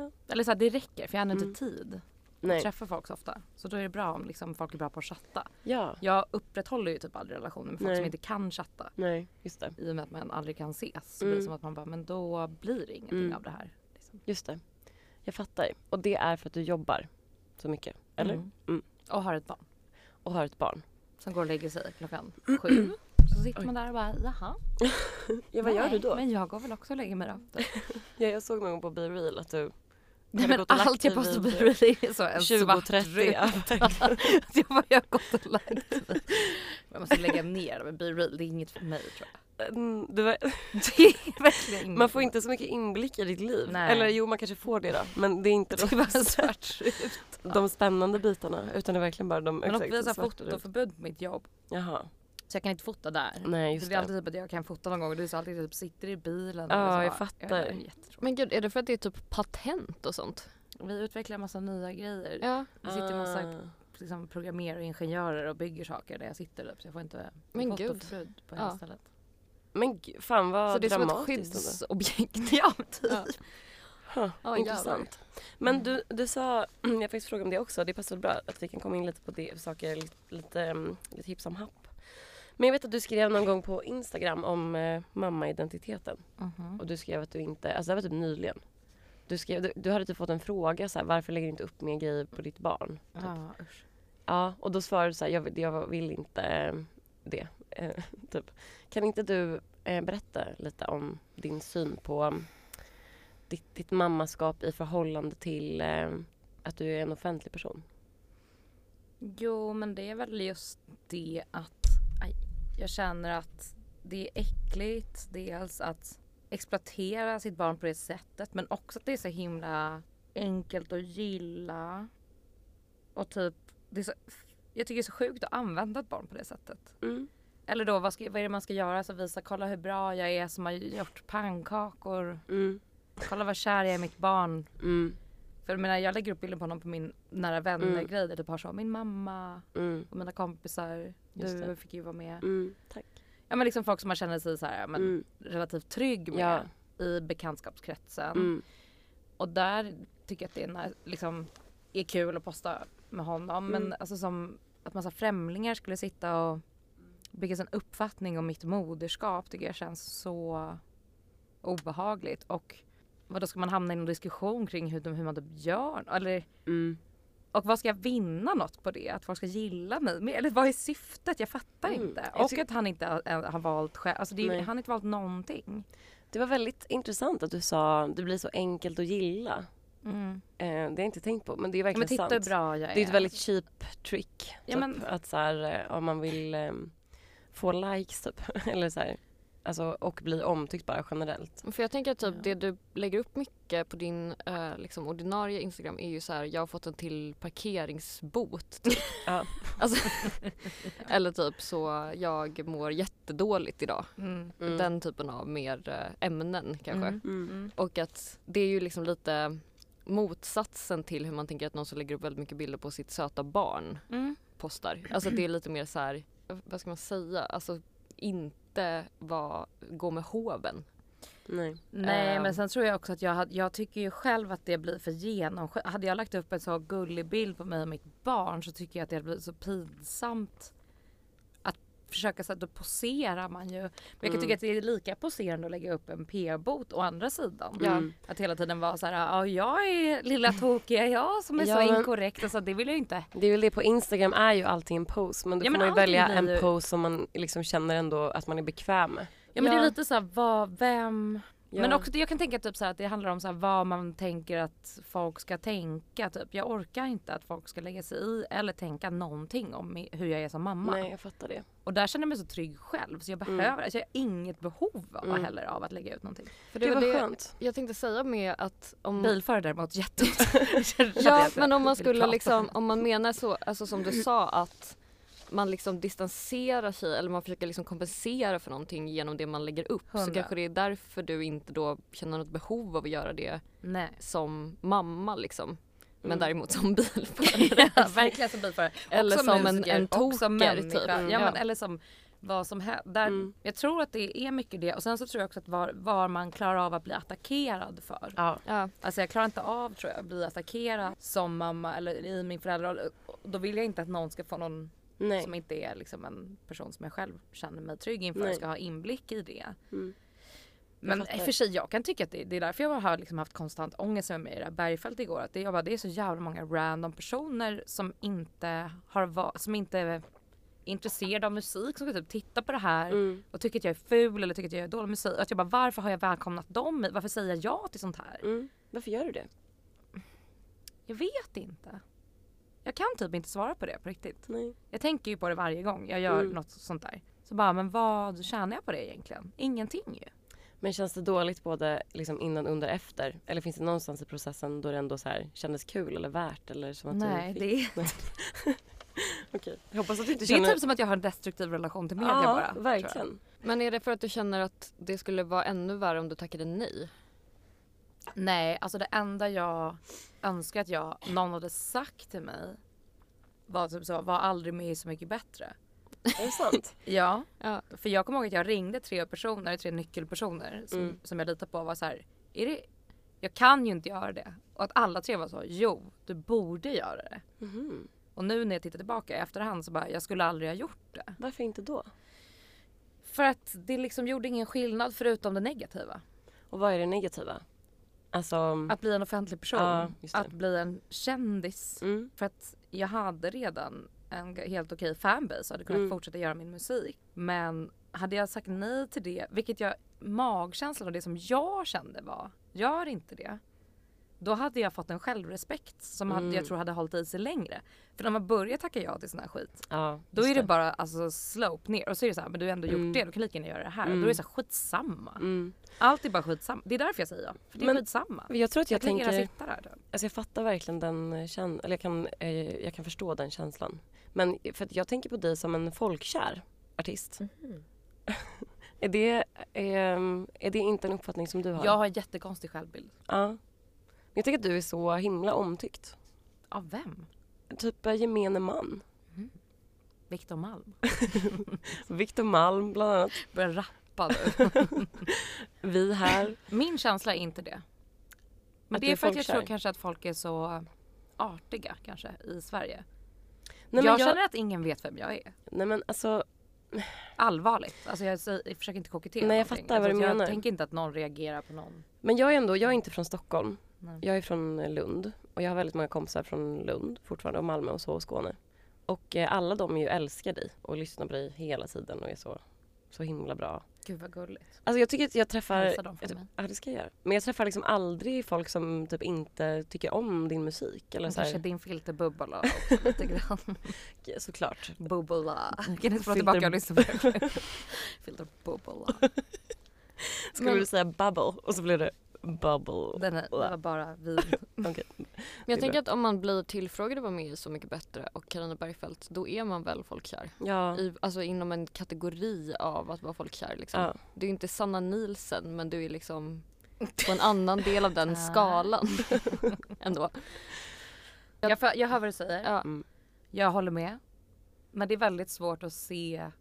S2: Ja.
S1: Eller så här, det räcker för jag har
S2: Mm.
S1: inte tid. Jag
S2: Nej.
S1: träffar folk så ofta. Så då är det bra om liksom, folk är bra på att chatta.
S2: Ja.
S1: Jag upprätthåller ju typ aldrig relationer med folk
S2: Nej.
S1: som inte kan chatta.
S2: Nej, just det.
S1: I och med att man aldrig kan ses så
S2: Mm.
S1: blir det som att man bara, men då blir det ingenting
S2: Mm.
S1: av det här. Liksom.
S2: Just det. Jag fattar. Och det är för att du jobbar så mycket. Eller?
S1: Mm. Och har ett barn
S2: Och har ett barn.
S1: som går och lägger sig
S2: *clears throat*
S1: klockan sju. Så sitter man där och bara, jaha.
S2: Ja, vad gör
S1: nej,
S2: du då?
S1: Men jag går väl också och lägger mig då.
S2: Ja, jag såg någon gång på Be Real att du
S1: Nej,
S2: hade
S1: men
S2: gått och lagt
S1: allt jag
S2: dig
S1: postar på
S2: vid typ
S1: Bibeln är så en
S2: 20
S1: svart
S2: 30.
S1: rymd. *laughs*
S2: Ja, verkligen.
S1: jag bara, jag har gått och lagt mig. Jag måste lägga ner det med Bibeln, det är inget för mig tror jag.
S2: *laughs* Mm, det var,
S1: Det
S2: *laughs*
S1: är verkligen inget.
S2: man får inte så mycket inblick i ditt liv.
S1: Nej.
S2: Eller jo, man kanske får det då. Men det är inte
S1: det
S2: de,
S1: var en svart rymd.
S2: *laughs* de spännande bitarna. Utan det är verkligen bara de
S1: Men också, vi har så här
S2: svarta du-
S1: fotoförbud på mitt jobb.
S2: Jaha.
S1: Så jag kan inte fota där.
S2: Nej,
S1: Så
S2: Mm, just
S1: det är
S2: det.
S1: alltid typ att jag kan fota någon gång och du alltid typ sitter i bilen.
S2: Ja,
S1: eller så
S2: jag
S1: bara,
S2: fattar.
S1: vet inte, det är jättetråkigt.
S3: Men gud, är det för att det är typ patent och sånt?
S1: Vi utvecklar massa nya grejer.
S3: Ja.
S1: Det sitter en massa
S2: Ah.
S1: liksom, programmerare och ingenjörer och bygger saker där jag sitter. Typ, så jag får inte
S3: Men
S1: fotoförbud på hela
S3: Ja.
S1: stället.
S2: Men g- fan vad
S3: Så det är som ett
S2: dramatiskt. ändå.
S3: skyddsobjekt.
S1: Ja, typ.
S3: Ja.
S2: Huh,
S3: Ja,
S2: intressant. Men du, du sa, *clears throat* jag fick fråga om det också, det passar bra att vi kan komma in lite på det, saker lite, lite, mm, lite hipp som happ. Men jag vet att du skrev någon gång på Instagram om eh, mammaidentiteten och du skrev att du inte, alltså det var typ nyligen. Du, skrev, du, du hade typ fått en fråga så här, varför lägger du inte upp mer grejer på ditt barn?
S1: Ja, usch.
S2: Ja, och då svarade du så här, jag, vill- jag vill inte eh, det. Eh, *laughs* typ. Kan inte du eh, berätta lite om din syn på mm, ditt, ditt mammaskap i förhållande till eh, att du är en offentlig person?
S1: Jo, men det är väl just det att aj, jag känner att det är äckligt. Dels att exploatera sitt barn på det sättet, men också att det är så himla enkelt att gilla. Och typ, det är så, jag tycker det är så sjukt att använda ett barn på det sättet. Eller då, vad, ska, vad är det man ska göra? Så visa, kolla hur bra jag är som har gjort pannkakor.
S2: Mm.
S1: Kolla vad kär jag är i mitt barn.
S2: Mm.
S1: För jag menar, jag lägger upp bilder på honom på min nära
S2: Mm.
S1: vänner-grej där typ har så, min mamma
S2: Mm.
S1: och mina kompisar.
S2: Just
S1: Du
S2: det.
S1: fick ju vara med.
S2: Mm. Tack.
S1: Ja men liksom folk som man känner sig så här, ja, men,
S2: Mm.
S1: relativt trygg med
S2: Ja.
S1: i bekantskapskretsen.
S2: Mm.
S1: Och där tycker jag att det är, när- liksom, är kul att posta med honom. Men
S2: Mm.
S1: alltså som att massa främlingar skulle sitta och bygga sig en uppfattning om mitt moderskap tycker jag känns så obehagligt. Och vad då ska man hamna i någon diskussion kring hur, de- hur man typ gör? Eller,
S2: Mm.
S1: och vad ska jag vinna något på det? Att folk ska gilla mig mer? Eller vad är syftet? Jag fattar
S2: Mm.
S1: inte.
S2: Jag
S1: Och
S2: tycker-
S1: att han inte har, eh, har valt själv. Alltså det är, ju-
S2: Nej.
S1: han har inte valt någonting.
S2: Det var väldigt intressant att du sa det blir så enkelt att gilla.
S1: Mm.
S2: Eh, det har jag inte tänkt på men det är
S1: Ja, men
S2: verkligen
S1: titta
S2: sant.
S1: hur bra jag är.
S2: Det är ett väldigt cheap trick.
S1: Ja,
S2: typ.
S1: men-
S2: Att så här, eh, om man vill eh, få likes typ. *laughs* Eller så här, alltså, och bli omtyckt bara generellt.
S3: För jag tänker att typ
S1: Ja.
S3: det du lägger upp mycket på din eh, liksom ordinarie Instagram är ju så här, jag har fått en till parkeringsbot. Typ.
S2: Ja.
S3: *laughs* Alltså, eller typ så, jag mår jättedåligt idag.
S1: Mm.
S2: Mm.
S3: Den typen av mer eh, ämnen kanske.
S1: Mm.
S2: Mm.
S1: Mm.
S3: Och att det är ju liksom lite motsatsen till hur man tänker att någon som lägger upp väldigt mycket bilder på sitt söta barn
S1: Mm.
S3: postar. Alltså att det är lite mer så här, vad ska man säga, alltså inte vara, gå med hoven.
S2: Nej.
S1: Nej
S3: Ehm.
S1: men sen tror jag också att jag, hade- jag tycker ju själv att det blir för genomskinligt. Hade jag lagt upp en så gullig bild på mig och mitt barn så tycker jag att det hade blivit så pinsamt. Att försöka så att då poserar man ju. Men jag kan
S2: Mm.
S1: tycka att det är lika poserande att lägga upp en p-bot å andra sidan.
S2: Ja.
S1: Att hela tiden vara så här, ja jag är lilla tokiga jag som är
S2: Ja,
S1: så
S2: men-
S1: inkorrekt. Alltså det vill jag ju inte.
S2: Det är väl det på Instagram är ju allting en pose men då
S1: Ja,
S2: får
S1: men
S2: man ju
S1: allting
S2: välja
S1: blir
S2: en
S1: ju-
S2: pose som man liksom känner ändå att man är bekväm med.
S1: Ja men det
S3: Ja.
S1: är lite så här, vad, vem?
S2: Ja.
S1: Men också det- jag kan tänka typ så här, att det handlar om så här, vad man tänker att folk ska tänka. Typ. Jag orkar inte att folk ska lägga sig i eller tänka någonting om mi- hur jag är som mamma.
S2: Nej jag fattar det.
S1: Och där känner jag mig så trygg själv så jag behöver, alltså, jag har inget behov av,
S2: Mm.
S1: heller av att lägga ut någonting.
S3: För
S2: Det, var
S3: det
S2: skönt.
S3: jag tänkte säga med att
S2: Mm.
S3: om...
S1: Bilförare däremot
S2: *laughs*
S1: jätteont.
S3: Ja men om man skulle
S1: prata.
S3: liksom, om man menar så, alltså som du sa att man liksom distanserar sig eller man försöker liksom kompensera för någonting genom det man lägger upp så
S1: Hundra.
S3: kanske det är därför du inte då känner något behov av att göra det
S1: Nej.
S3: som mamma liksom. Men
S2: Mm.
S3: däremot som *laughs* bilförare.
S1: *laughs* Ja, verkligen som bilförare. Och
S3: Eller som en-
S1: musiker,
S3: en
S1: och som
S3: toker,
S1: människa.
S3: typ.
S1: Ja,
S3: Ja.
S1: men, eller som vad som händer. Där,
S2: Mm.
S1: Jag tror att det är mycket det och sen så tror jag också att var, var man klarar av att bli attackerad för.
S2: Ja.
S3: Ja.
S1: Alltså jag klarar inte av tror jag att bli attackerad som mamma eller i min föräldraroll. Och Då vill jag inte att någon ska få någon
S2: Nej.
S1: som inte är liksom en person som jag själv känner mig trygg inför
S2: Nej.
S1: ska ha inblick i det.
S2: Mm.
S1: Men
S2: fattar.
S1: i och för sig jag kan tycka att det, det är därför jag har liksom haft konstant ångest med mig i det här Bergfält igår. Att det, jag bara, det är så jävla många random personer som inte har va- som inte är intresserade av musik som ska typ titta på det här
S2: Mm.
S1: och tycker att jag är ful eller tycker att jag gör dålig musik. Och att jag bara varför har jag välkomnat dem? i- Varför säger jag ja till sånt här?
S2: Mm. Varför gör du det?
S1: Jag vet inte. Jag kan typ inte svara på det på riktigt.
S2: Nej.
S1: Jag tänker ju på det varje gång jag gör
S2: Mm.
S1: något sånt där. Så bara, men vad tjänar jag på det egentligen? Ingenting ju.
S2: Men känns det dåligt både liksom innan, under, efter? Eller finns det någonstans i processen då det ändå så här kändes kul eller värt? Eller som att
S1: Nej,
S2: du
S1: det är,
S2: *laughs* Okej. Jag hoppas att du inte
S1: det
S2: känner...
S1: är typ som att jag har en destruktiv relation till media
S2: ja,
S1: bara. tror jag.
S2: verkligen.
S3: Men är det för att du känner att det skulle vara ännu värre om du tackade nej?
S1: Nej, alltså det enda jag önskar att jag, någon hade sagt till mig var typ så, var aldrig med i Så Mycket Bättre.
S2: Är det sant?
S1: Ja,
S3: Ja.
S1: för jag kommer ihåg att jag ringde tre personer, tre nyckelpersoner som,
S2: Mm.
S1: som jag litar på och var så här, är det, jag kan ju inte göra det. Och att alla tre var så, jo, du borde göra det.
S2: Mhm.
S1: Och nu när jag tittar tillbaka i efterhand så bara, jag skulle aldrig ha gjort det.
S2: Varför inte då?
S1: För att det liksom gjorde ingen skillnad förutom det negativa.
S2: Och vad är det negativa? Alltså...
S1: Att bli en offentlig person,
S2: Ja, just det.
S1: att bli en kändis.
S2: Mm.
S1: För att jag hade redan en g- helt okej fanbase och hade kunnat
S2: Mm.
S1: fortsätta göra min musik. Men hade jag sagt nej till det, vilket jag, magkänslan och det som jag kände var, gör inte det. Då hade jag fått en självrespekt som hade,
S2: Mm.
S1: jag tror hade hållit i sig längre. För när man börjar tacka ja till sån här skit,
S2: Ja,
S1: då
S2: just
S1: är det bara alltså slope ner. Och så är det så här, men du har ändå gjort
S2: Mm.
S1: det, du kan lika gärna göra det här.
S2: Mm.
S1: Då är det så här, skitsamma.
S2: Mm.
S1: Allt är bara skitsamma. Det är därför jag säger ja. För det är
S2: Men
S1: skitsamma.
S2: Jag tror att jag,
S1: Jag, kan lika
S2: tänker...
S1: gärna sitta där. då.
S2: Alltså jag fattar verkligen den känslan, eller jag kan, eh, jag kan förstå den känslan. Men för att jag tänker på dig som en folkkär artist.
S1: Mm.
S2: *laughs* är, det, ehm, är det inte en uppfattning som du har?
S1: Jag har en jättekonstig självbild.
S2: Ja. Men jag tycker att du är så himla omtyckt.
S1: Av vem?
S2: Typ eh, gemene man.
S1: Victor Malm.
S2: Victor Malm bland annat.
S1: Börjar rappa nu.
S2: Vi här.
S1: Min känsla är inte det. Men
S2: Att
S1: det är
S2: du är
S1: för att jag
S2: folkkär?
S1: tror kanske att folk är så artiga kanske i Sverige.
S2: Nej men,
S1: jag,
S2: jag
S1: känner att ingen vet vem jag är.
S2: nej, men alltså,
S1: Allvarligt. Alltså jag, säger- jag försöker inte kokettera
S2: Nej, jag
S1: någonting.
S2: fattar vad
S1: Alltså
S2: du
S1: jag
S2: menar.
S1: tänker inte att någon reagerar på någon.
S2: men jag är ändå, jag är inte från Stockholm.
S1: Nej.
S2: Jag är från eh, Lund. Och jag har väldigt många kompisar från Lund fortfarande och Malmö och så och Skåne. Och eh, alla de är ju älskar dig och lyssnar på dig hela tiden och är så, så himla bra.
S1: Gud vad gulligt.
S2: Alltså jag tycker att jag träffar...
S1: Hälsa dem från
S2: jag,
S1: mig.
S2: ja, det ska jag göra. Men jag träffar liksom aldrig folk som typ inte tycker om din musik. Eller
S1: Men
S2: så
S1: kanske
S2: här,
S1: din filterbubbla *laughs* också lite grann.
S2: såklart.
S1: Bubbla. Kan du inte få
S2: Filter-
S1: tillbaka och lyssna på *laughs* det? Filterbubbla.
S2: Skulle
S3: Men-
S2: du säga bubble? Och så blev det bubble.
S1: Den är, det var bara vi. *laughs*
S2: Okej.
S3: Men jag
S2: Det är
S3: tänker att om man blir tillfrågad att vara med i Så mycket bättre och Carina Bergfeldt då är man väl folkkär?
S2: Ja.
S3: I, alltså inom en kategori av att vara folkkär liksom.
S2: ja.
S3: Du är inte Sanna Nielsen men du
S2: *laughs*
S3: är liksom på en annan del av den
S1: Ah.
S3: skalan *laughs* ändå.
S1: Jag, för, jag hör vad du säger.
S3: Ja.
S2: Mm.
S1: Jag håller med. Men det är väldigt svårt att se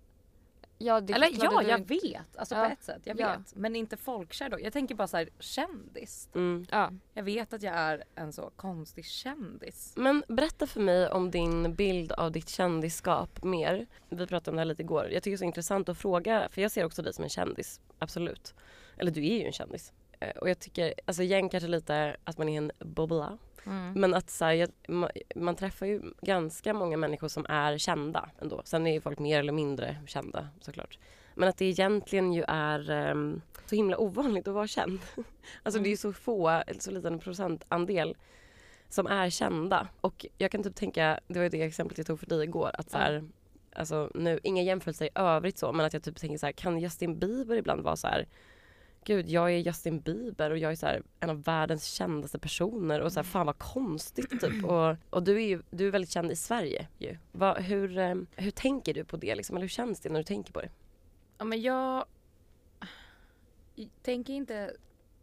S3: Ja, det
S1: Eller
S3: förklarade
S1: ja,
S3: du
S1: jag
S3: inte.
S1: vet. Alltså
S3: Ja.
S1: på ett sätt. Jag
S3: Ja.
S1: vet. Men inte folkkär då. Jag tänker bara så här kändis.
S2: Mm.
S3: Ja.
S1: Jag vet att jag är en så konstig kändis.
S2: Men berätta för mig om din bild av ditt kändisskap mer. Vi pratade om det här lite igår. Jag tycker det är så intressant att fråga, för jag ser också dig som en kändis. Absolut. Eller du är ju en kändis. Eh, Och jag tycker, alltså igen kanske lite att man är en bubbla. Men att så här, jag, man, man träffar ju ganska många människor som är kända ändå. Sen är ju folk mer eller mindre kända såklart. Men att det egentligen ju är ehm, så himla ovanligt att vara känd. *laughs* alltså det är ju så få, så liten procentandel som är kända. Och jag kan typ tänka, det var ju det exemplet jag tog för dig igår, att så här, alltså nu, inga jämförelser i övrigt så, men att jag typ tänker så här, kan Justin Bieber ibland vara så här Gud, jag är Justin Bieber och jag är så här, en av världens kändaste personer och så här, fan vad konstigt typ. Och, och du är ju du är väldigt känd i Sverige ju. Va, hur, eh, hur tänker du på det liksom? Eller hur känns det när du tänker på det?
S1: Ja, men jag tänker inte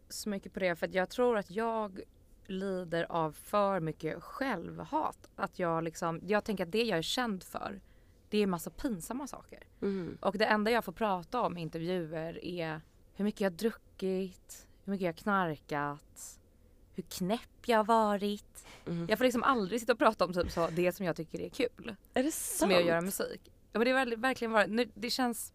S1: så mycket på det för att jag tror att jag lider av för mycket självhat. Att jag liksom, jag tänker att det jag är känd för, det det är massa pinsamma saker.
S2: Mm.
S1: Och det enda jag får prata om i intervjuer är hur mycket jag har druckit, hur mycket jag har knarkat, hur knäpp jag har varit.
S2: Mhm.
S1: Jag får liksom aldrig sitta och prata om typ så, det som jag tycker är kul
S2: Är det sant?
S1: med att göra musik. Ja, men det har verkligen- verkligen varit, nu, det känns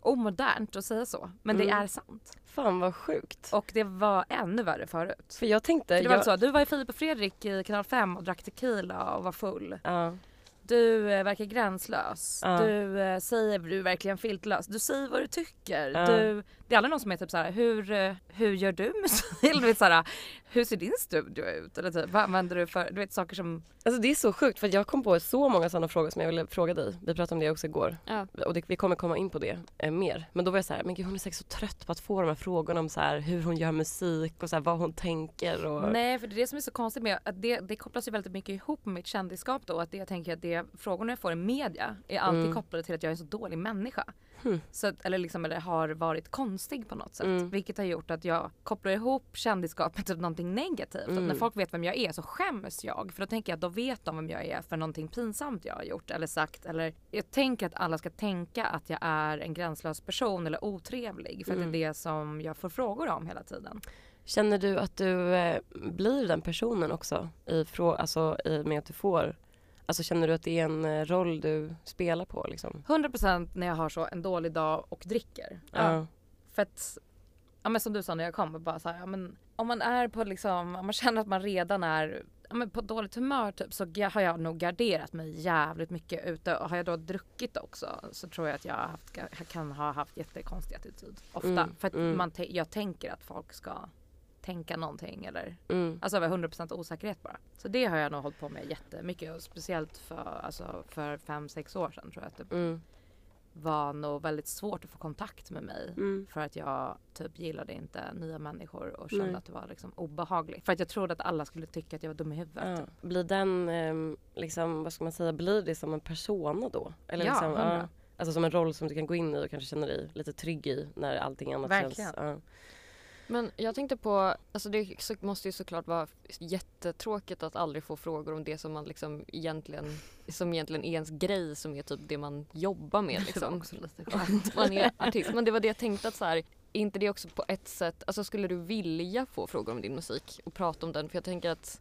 S1: omodernt att säga så men det
S2: Mm.
S1: är sant.
S2: Fan vad sjukt.
S1: Och det var ännu värre förut.
S2: För jag tänkte...
S1: För det var
S2: jag,
S1: så, du var i Filip och Fredrik i kanal 5 och drack tequila och var full.
S2: Ja.
S1: Du eh, verkar gränslös.
S2: Ja.
S1: Du eh, säger du är verkligen filtlös. Du säger vad du tycker.
S2: Ja.
S1: Du, det är aldrig någon som är typ såhär, hur, eh, hur gör du *laughs* musik? Eller du vet såhär, hur ser din studio ut? Eller typ, vad använder du för, du vet saker som,
S2: Alltså det är så sjukt för att jag kom på så många sådana frågor som jag ville fråga dig. Vi pratade om det också igår.
S3: Ja.
S2: Och det, vi kommer komma in på det eh, mer. Men då var jag så här, men gud hon är säkert så trött på att få de här frågorna om så här, hur hon gör musik och så här, vad hon tänker. Och...
S1: nej för det är det som är så konstigt med att det, det kopplas ju väldigt mycket ihop med mitt kändisskap då. Att det, jag tänker att det, frågorna jag får i media är alltid kopplade till att jag är en så dålig människa. Så att, eller liksom eller har varit konstig på något sätt. Vilket har gjort att jag kopplar ihop kändisskap med typ någonting negativt. Att när folk vet vem jag är så skäms jag. För då tänker jag att då vet de vem jag är för någonting pinsamt jag har gjort eller sagt. Eller jag tänker att alla ska tänka att jag är en gränslös person eller otrevlig. För att det är det som jag får frågor om hela tiden.
S2: Känner du att du eh, blir den personen också? I frå- alltså i och med att du får, alltså känner du att det är en eh, roll du spelar på liksom?
S1: 100% när jag har så en dålig dag och dricker.
S2: Ja.
S1: För att, ja men som du sa när jag kom, bara så här, ja, men om man är på liksom, om man *laughs* känner att man redan är ja, men på dåligt humör typ så ga- har jag nog garderat mig jävligt mycket ute och har jag då druckit också så tror jag att jag, har haft, jag kan ha haft jättekonstig attityd ofta.
S2: Mm,
S1: för att
S2: mm.
S1: man te- jag tänker att folk ska tänka någonting eller
S2: Mm.
S1: alltså över 100% osäkerhet bara. Så det har jag nog hållit på med jättemycket och speciellt för, alltså, för fem sex år sedan tror jag att det
S2: Mm.
S1: var nog väldigt svårt att få kontakt med mig.
S2: Mm.
S1: För att jag typ gillade inte nya människor och kände
S2: Nej.
S1: att det var liksom obehagligt. För att jag trodde att alla skulle tycka att jag var dum i huvudet.
S2: Ja. Blir den, ehm, liksom, vad ska man säga, blir det som en persona då? Eller
S1: Ja,
S2: liksom,
S1: hundra.
S2: Alltså som en roll som du kan gå in i och kanske känna dig lite trygg i när allting annat
S1: Verkligen.
S2: känns... Ja.
S3: Men jag tänkte på, alltså det så- måste ju såklart vara jättetråkigt att aldrig få frågor om det som man liksom egentligen, som egentligen är ens grej som är typ det man jobbar
S1: *laughs*
S3: med
S1: Det var
S3: liksom.
S1: också lite skönt.
S3: *laughs* Att man är artist. Men det var det jag tänkte att så här, är inte det också på ett sätt, alltså skulle du vilja få frågor om din musik och prata om den? För jag tänker att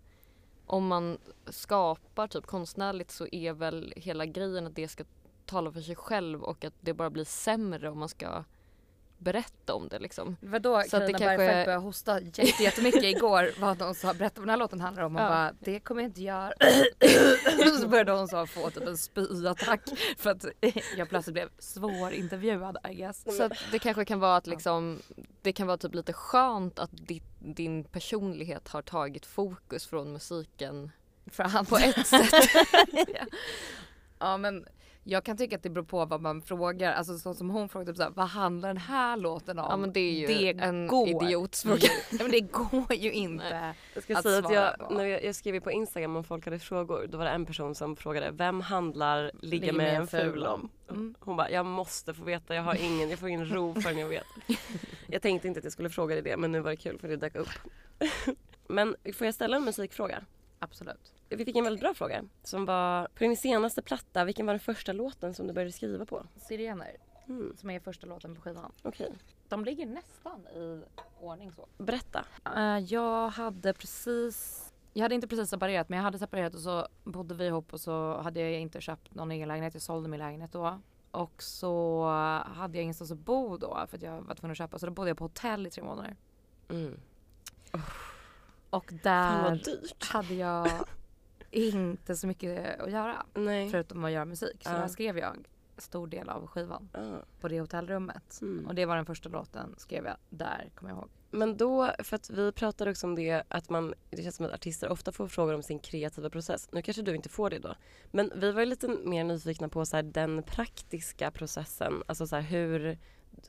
S3: om man skapar typ konstnärligt så är väl hela grejen att det ska tala för sig själv och att det bara blir sämre om man ska berätta om det liksom.
S1: Vadå
S3: Så att det
S1: Carina
S3: kanske-
S1: Bergfeldt började hosta jätte- *laughs* jättemycket igår vad hon sa, berätta vad den här låten handlar om. Hon
S3: Ja.
S1: bara, det kommer jag inte *coughs* göra. så började hon så få typ en spyattack för att *laughs* jag plötsligt blev svårintervjuad I guess.
S3: Så att det kanske kan vara att liksom, det kan vara typ lite skönt att ditt, din personlighet har tagit fokus från musiken.
S1: För han på *laughs* ett sätt. ja. ja men jag kan tycka att det beror på vad man frågar. Alltså så som hon frågade, typ så här, vad handlar den här låten om?
S3: Ja men det är ju
S1: det
S3: en
S1: går. Mm.
S3: idiots
S1: ju-
S3: fråga.
S1: Ja, men det går ju inte.
S2: Jag ska
S1: Att
S2: säga att
S1: svara
S2: jag,
S1: på.
S2: när jag, jag skrev ju på Instagram om folk hade frågor. Då var det en person som frågade vem handlar ligga, med, en ful om?
S1: Mm.
S2: Hon bara, jag måste få veta. Jag har ingen, jag får ingen ro förrän jag vet. *laughs* jag tänkte inte att jag skulle fråga dig det men nu var det kul för det dök upp. *laughs* men får jag ställa en musikfråga?
S1: Absolut.
S2: Vi fick en väldigt bra fråga som var på din senaste platta, vilken var den första låten som du började skriva på?
S1: Sirener,
S2: Mm.
S1: som är första låten på skivan.
S2: Okej,
S1: De ligger nästan i ordning så.
S2: berätta.
S1: Eh, jag hade precis jag hade inte precis separerat men jag hade separerat och så bodde vi ihop och så hade jag inte köpt någon egen lägenhet. Jag sålde min lägenhet då. Och så hade jag ingenstans att bo då för att jag var tvungen att köpa. Så då bodde jag på hotell i tre månader.
S2: Mm.
S1: Och
S2: Fan vad
S1: där
S2: dyrt.
S1: hade jag inte så mycket att göra.
S2: Nej.
S1: Förutom att göra musik. Så
S2: Ja.
S1: där skrev jag stor del av skivan
S2: Ja.
S1: på det hotellrummet.
S2: Mm.
S1: Och det var den första låten skrev jag där, kommer jag ihåg.
S2: Men då, för att vi pratade också om det att man, det känns som att artister ofta får frågor om sin kreativa process. Nu kanske du inte får det då. Men vi var ju lite mer nyfikna på så här, den praktiska processen. Alltså så här, hur,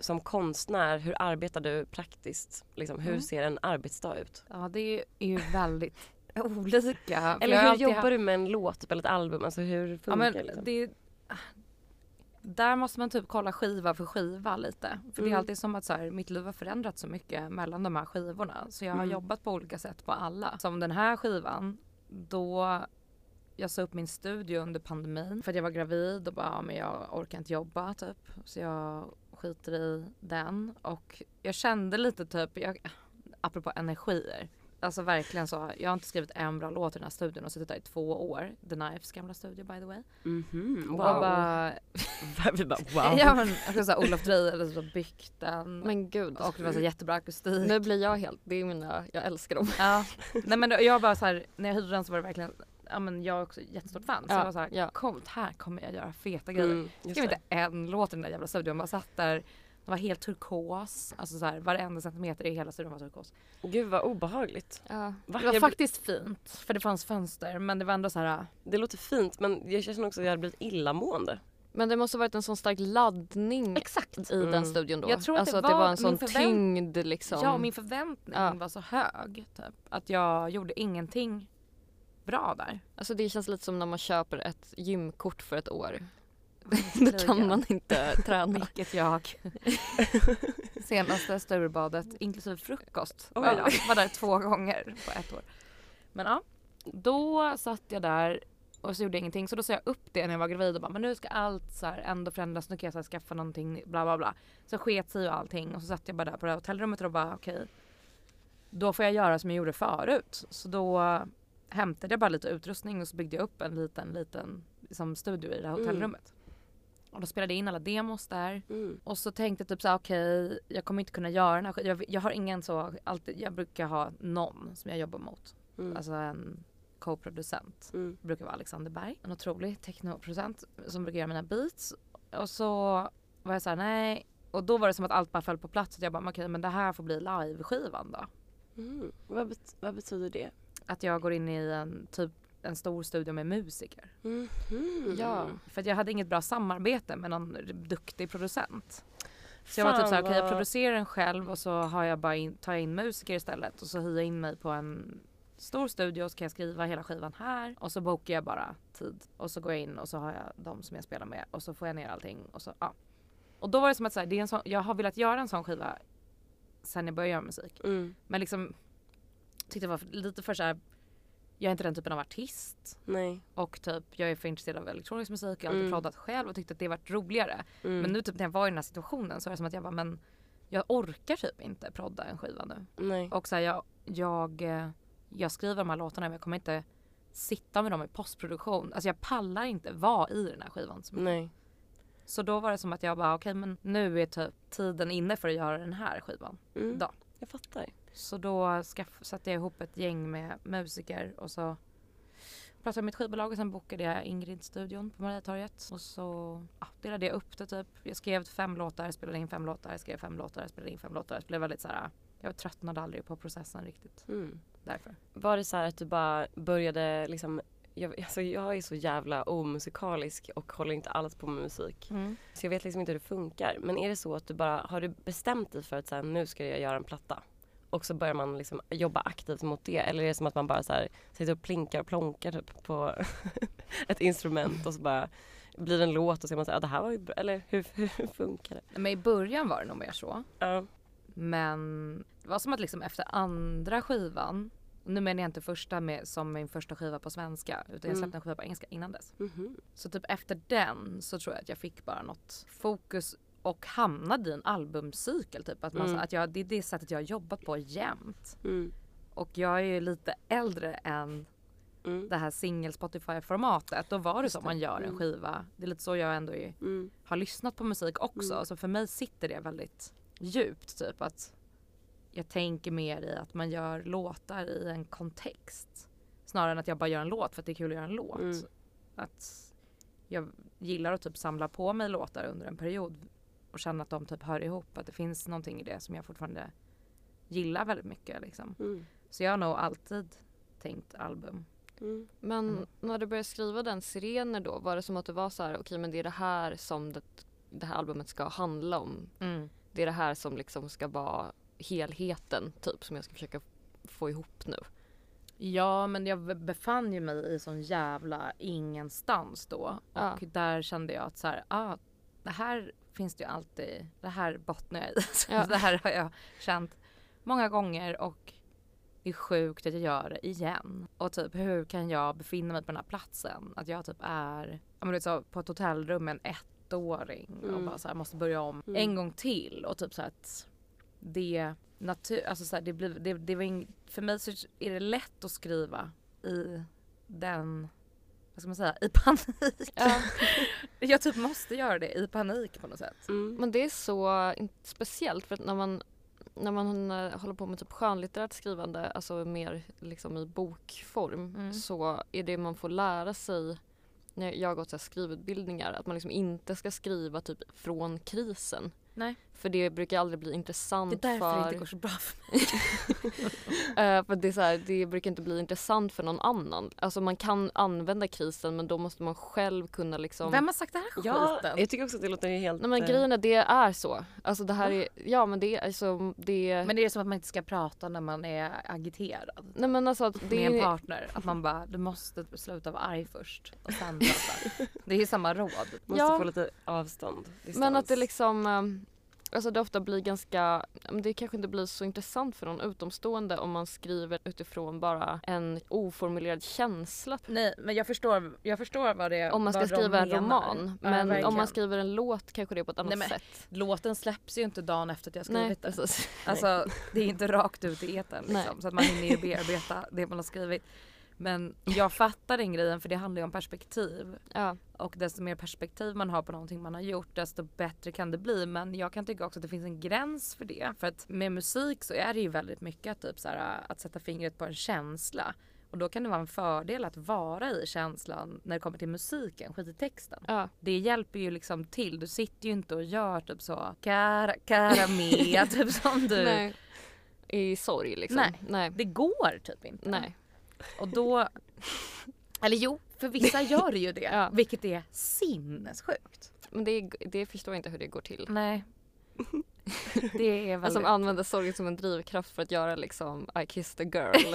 S2: som konstnär, hur arbetar du praktiskt? Liksom, hur ser en arbetsdag ut?
S1: Ja det är ju väldigt
S2: *laughs*
S1: olika. För jag
S2: Eller
S1: har
S2: hur
S1: alltid
S2: jobbar du med en låt typ, eller ett album? Alltså hur
S1: Ja,
S2: funkar
S1: men
S2: det? Liksom?
S1: det där måste man typ kolla skiva för skiva lite. För
S2: Mm.
S1: det är alltid som att så här, mitt liv har förändrats så mycket mellan de här
S2: Mm.
S1: skivorna. Så jag har jobbat på olika sätt på alla. Som den här skivan, då jag sa upp min studio under pandemin för att jag var gravid och bara, ja, men jag orkar inte jobba typ. Så jag skiter i den och jag kände lite typ, jag, apropå energier. Alltså verkligen så, jag har inte skrivit en bra låt i den här studion och suttit där i två år. The Knives gamla studio by the way.
S2: Mhm,
S1: Och
S2: Wow.
S1: jag bara,
S2: *laughs* Vi bara wow.
S1: ja men också såhär Olof Dreyer hade typ så byggt den.
S3: Men gud.
S1: och det var så jättebra akustik.
S3: Nu blir jag helt, det är mina, jag älskar dem.
S1: Ja. Nej men då- jag bara så här, när jag hyrde den så var det verkligen, ja men jag är också jättestort fan. Så
S3: Ja,
S1: jag var så här,
S3: ja.
S1: coolt här kommer jag göra feta grejer.
S2: Mm,
S1: Jag
S2: just
S1: skrev
S2: det.
S1: inte en låt i den där jävla studion, man satt där, den var helt turkos. Alltså så här, varenda centimeter i hela studion var turkos.
S2: Gud vad obehagligt.
S3: Ja.
S2: Va?
S1: det var
S2: Jag-
S1: faktiskt fint, för det fanns fönster men det var ändå så här,
S2: Det låter fint men jag känner också att jag hade blivit illamående.
S3: Men det måste ha varit en sån stark laddning
S1: exakt.
S3: i
S2: Mm.
S3: den studion då.
S1: Jag tror att
S3: alltså
S1: det
S3: att det
S1: var
S3: var en
S1: min
S3: sån
S1: förvänt-
S3: tyngd liksom.
S1: Ja, och min förväntning
S3: Ja.
S1: var så hög typ, att jag gjorde ingenting bra där.
S3: Alltså det känns lite som när man köper ett gymkort för ett år. *laughs* Då kan man inte träna.
S1: Vilket jag. Senaste Sturebadet inklusive frukost
S2: Oj.
S1: var, jag, var där två gånger på ett år. Men ja, då satt jag där och så gjorde jag ingenting. Så då sa jag upp det när jag var gravid och bara men nu ska allt så här ändå förändras. Nu kan jag så här skaffa någonting bla bla bla. Så sket sig ju allting och så satt jag bara där på det här hotellrummet och bara okej. då får jag göra som jag gjorde förut. Så då hämtade jag bara lite utrustning och så byggde jag upp en liten liten liksom, studio i det här
S2: Mm.
S1: hotellrummet. Och då spelade jag in alla demos där.
S2: Mm.
S1: Och så tänkte jag typ såhär okej, jag kommer inte kunna göra den här skit- jag, jag har ingen så, alltid, jag brukar ha någon som jag jobbar mot.
S2: Mm.
S1: Alltså en co-producent.
S2: Mm.
S1: Det brukar vara Alexander Berg, en otrolig technoproducent som brukar göra mina beats. Och så var jag såhär nej. Och då var det som att allt bara föll på plats. Att jag bara men okej men det här får bli live-skivan då.
S2: Mm. Vad, bet- vad betyder det?
S1: Att jag går in i en typ en stor studio med musiker. Mm.
S2: Mhm.
S3: Ja.
S1: För att jag hade inget bra samarbete med någon duktig producent. Så jag var
S2: Fan,
S1: typ såhär, okej jag
S2: vad-
S1: producerar den själv och så har jag bara in, tar jag in musiker istället och så hyr jag in mig på en stor studio och så kan jag skriva hela skivan här och så bokar jag bara tid och så går jag in och så har jag de som jag spelar med och så får jag ner allting och så ja. Och då var det som att så här, det är en sån, jag har velat göra en sån skiva sen jag började göra musik.
S2: Mm.
S1: Men liksom tyckte det var lite för såhär, jag är inte den typen av artist
S2: Nej.
S1: och typ jag är för intresserad av elektronisk musik, jag har alltid
S2: Mm.
S1: proddat själv och tyckte att det varit roligare.
S2: Mm.
S1: Men nu typ när jag var i den här situationen så var det som att jag bara men jag orkar typ inte prodda en skiva nu.
S2: Nej.
S1: Och så här, jag, jag, eh, jag skriver de här låtarna men jag kommer inte sitta med dem i postproduktion. Alltså jag pallar inte vara i den här skivan. så mycket.
S2: Nej.
S1: Så då var det som att jag bara okej men nu är typ tiden inne för att göra den här skivan.
S2: Mm.
S1: Då.
S2: Jag fattar.
S1: Så då skaff, satte jag ihop ett gäng med musiker och så pratade jag med mitt skivbolag och sen bokade jag Ingrid-studion på Mariatorget. Och så ja, delade jag upp det typ. Jag skrev fem låtar, spelade in fem låtar, skrev fem låtar, spelade in fem låtar. Det blev väldigt så här, jag tröttnade aldrig på processen riktigt
S2: Mm.
S1: därför.
S2: Var det så här att du bara började liksom jag, alltså jag är så jävla omusikalisk och håller inte alls på med musik. Så jag vet liksom inte hur det funkar. Men är det så att du bara, har du bestämt dig för att så här, nu ska jag göra en platta? Och så börjar man liksom jobba aktivt mot det. Eller är det som att man bara så här, sitter och plinkar och plonkar typ på *laughs* ett instrument och så bara blir det en låt och så är man så här, ah, det här var ju bra. Eller hur, *laughs* hur funkar det?
S1: Men i början var det nog mer så.
S2: Ja.
S1: Men det var som att liksom efter andra skivan, nu menar jag inte första med, som min första skiva på svenska utan jag släppte en skiva på engelska innan dess.
S2: Mhm.
S1: Så typ efter den så tror jag att jag fick bara något fokus och hamnade i en albumcykel typ. Att, man,
S2: Mm.
S1: att jag, det är det sättet jag har jobbat på jämt.
S2: Mm.
S1: Och jag är ju lite äldre än
S2: Mm.
S1: det här singel Spotify formatet. Då var det som
S2: det.
S1: man gör en skiva. Det är lite så jag ändå är,
S2: Mm.
S1: har lyssnat på musik också. Så för mig sitter det väldigt djupt typ att jag tänker mer i att man gör låtar i en kontext. Snarare än att jag bara gör en låt för att det är kul att göra en låt.
S2: Mm.
S1: Att jag gillar att typ samla på mig låtar under en period och känna att de typ hör ihop. Att det finns någonting i det som jag fortfarande gillar väldigt mycket liksom.
S2: Mm.
S1: Så jag har nog alltid tänkt album.
S2: Mm.
S3: Men
S1: Mm.
S3: när du började skriva den Sirener då var det som att du var så här, okej men det är det här som det, det här albumet ska handla om. Det är det här som liksom ska vara helheten typ som jag ska försöka få ihop nu.
S1: Ja men jag be- befann ju mig i sån jävla ingenstans då och
S3: Ja.
S1: där kände jag att så här, ah, det här finns det ju alltid, det här bottnar jag i. *laughs* Så
S3: Ja.
S1: Det här har jag känt många gånger och det det är sjukt att jag gör det igen. Och typ hur kan jag befinna mig på den här platsen? Att jag typ är ja, men du vet, så, på ett hotellrum med en ettåring och
S2: Mm.
S1: bara så här, måste börja om
S2: Mm.
S1: en gång till och typ så att det natur, alltså så här, det blir, det, det var ing, för mig så är det lätt att skriva i den, vad ska man säga, i panik. *laughs* jag typ måste göra det i panik på något sätt.
S2: Mm.
S3: Men det är så in- speciellt för att när man, när man eh, håller på med typ skönlitterärt skrivande, alltså mer liksom i bokform,
S1: Mm.
S3: så är det man får lära sig när jag har gått så här skrivutbildningar, att man liksom inte ska skriva typ från krisen.
S1: Nej.
S3: För det brukar aldrig bli intressant
S1: Det är därför
S3: för...
S1: det inte går så bra för mig.
S3: Eh, för det, är så här, det brukar inte bli intressant för någon annan. Alltså man kan använda krisen men då måste man själv kunna liksom...
S1: Vem har sagt det här
S2: Ja,
S1: skiten?
S2: jag tycker också att det låter helt...
S3: Nej men
S2: eh,
S3: grejen är det är så. Alltså det här är, ja men det är alltså det är...
S1: Men det är som att man inte ska prata när man är agiterad
S3: Nej men alltså att det
S1: med en
S3: är...
S1: partner. Att man bara, du måste sluta vara arg först och sen prata. *laughs* Det är ju samma råd.
S2: Måste
S3: Ja.
S2: få lite avstånd.
S3: Men att det
S2: distans.
S3: liksom... ehm, Alltså det ofta blir ganska, men det kanske inte blir så intressant för någon utomstående om man skriver utifrån bara en oformulerad känsla.
S1: Nej men jag förstår, jag förstår vad det
S3: Om man ska
S1: vad de
S3: skriva en
S1: menar.
S3: roman.
S1: Ja,
S3: Men om
S1: verkligen.
S3: man skriver en låt kanske det är på ett annat
S1: Nej, men-
S3: sätt.
S1: Låten släpps ju inte dagen efter att jag
S3: Nej,
S1: skrivit det.
S3: precis.
S1: *laughs* Alltså det är inte rakt ut i etern
S3: Nej.
S1: liksom, så att man hinner ju bearbeta det man har skrivit. Men jag fattar den grejen för det handlar ju om perspektiv.
S3: Ja.
S1: Och desto mer perspektiv man har på någonting man har gjort desto bättre kan det bli. Men jag kan tycka också att det finns en gräns för det. För att med musik så är det ju väldigt mycket att typ så här, att sätta fingret på en känsla. Och då kan det vara en fördel att vara i känslan när det kommer till musiken, skit i texten.
S3: ja.
S1: Det hjälper ju liksom till. Du sitter ju inte och gör typ så cara, cara mea, *laughs* typ som du.
S3: Nej. I sorg liksom.
S1: Nej.
S3: Nej.
S1: Det går typ inte.
S3: Nej.
S1: Och då... *laughs* Eller jo, för vissa gör ju det.
S3: Ja.
S1: Vilket är sinnessjukt.
S3: Men det, det förstår jag inte hur det går till.
S1: Nej. Det är
S3: Att
S1: Mm. väldigt...
S3: som använder sorgen som en drivkraft för att göra liksom I kissed a
S1: *laughs*
S3: girl.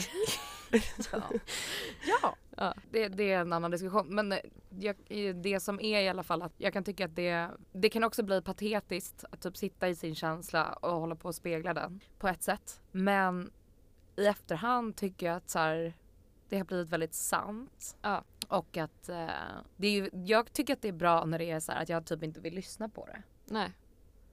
S1: ja. *laughs* ja.
S3: Ja.
S1: Det, det är en annan diskussion. Men eh, jag, i- det som är i alla fall att jag kan tycka att det, det kan också bli patetiskt att typ sitta i sin känsla och hålla på och spegla den på ett sätt. Men i efterhand tycker jag att så här, det har blivit väldigt sant.
S3: Ja.
S1: Och att eh, det är ju, jag tycker att det är bra när det är så här att jag typ inte vill lyssna på det.
S3: Nej.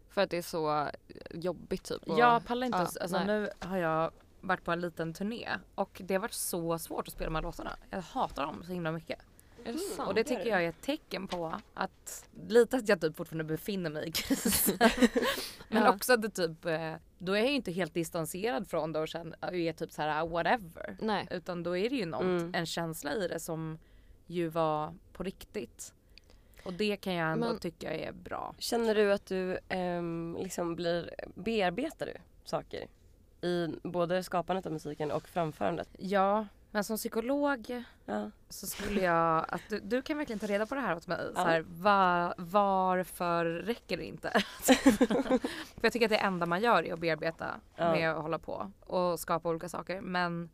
S3: För att det är så eh, jobbigt typ. och-
S1: Jag pallar inte.
S3: ja,
S1: att- alltså,
S3: nej.
S1: nu har jag varit på en liten turné och det har varit så svårt att spela de här låtarna. Jag hatar dem så himla mycket.
S3: Är Mm, det sant?
S1: och det tycker jag är ett tecken på att lite att jag typ fortfarande befinner mig i *laughs* krisen. Men
S3: Ja.
S1: också att det typ, eh, då är jag ju inte helt distanserad från det och sen och är typ så här whatever.
S3: Nej.
S1: Utan då är det ju något,
S2: Mm.
S1: en känsla i det som ju var på riktigt. Och det kan jag ändå
S3: Men-
S1: tycka är bra.
S2: Känner du att du ehm, liksom blir, bearbetar du saker? I både skapandet av musiken och framförandet?
S1: Ja, men som psykolog
S2: Ja.
S1: så skulle jag att du, du kan verkligen ta reda på det här åt mig. Så
S2: Ja.
S1: här, va, varför räcker det inte? För jag tycker att det enda man gör är att bearbeta
S2: Ja.
S1: med att hålla på och skapa olika saker. Men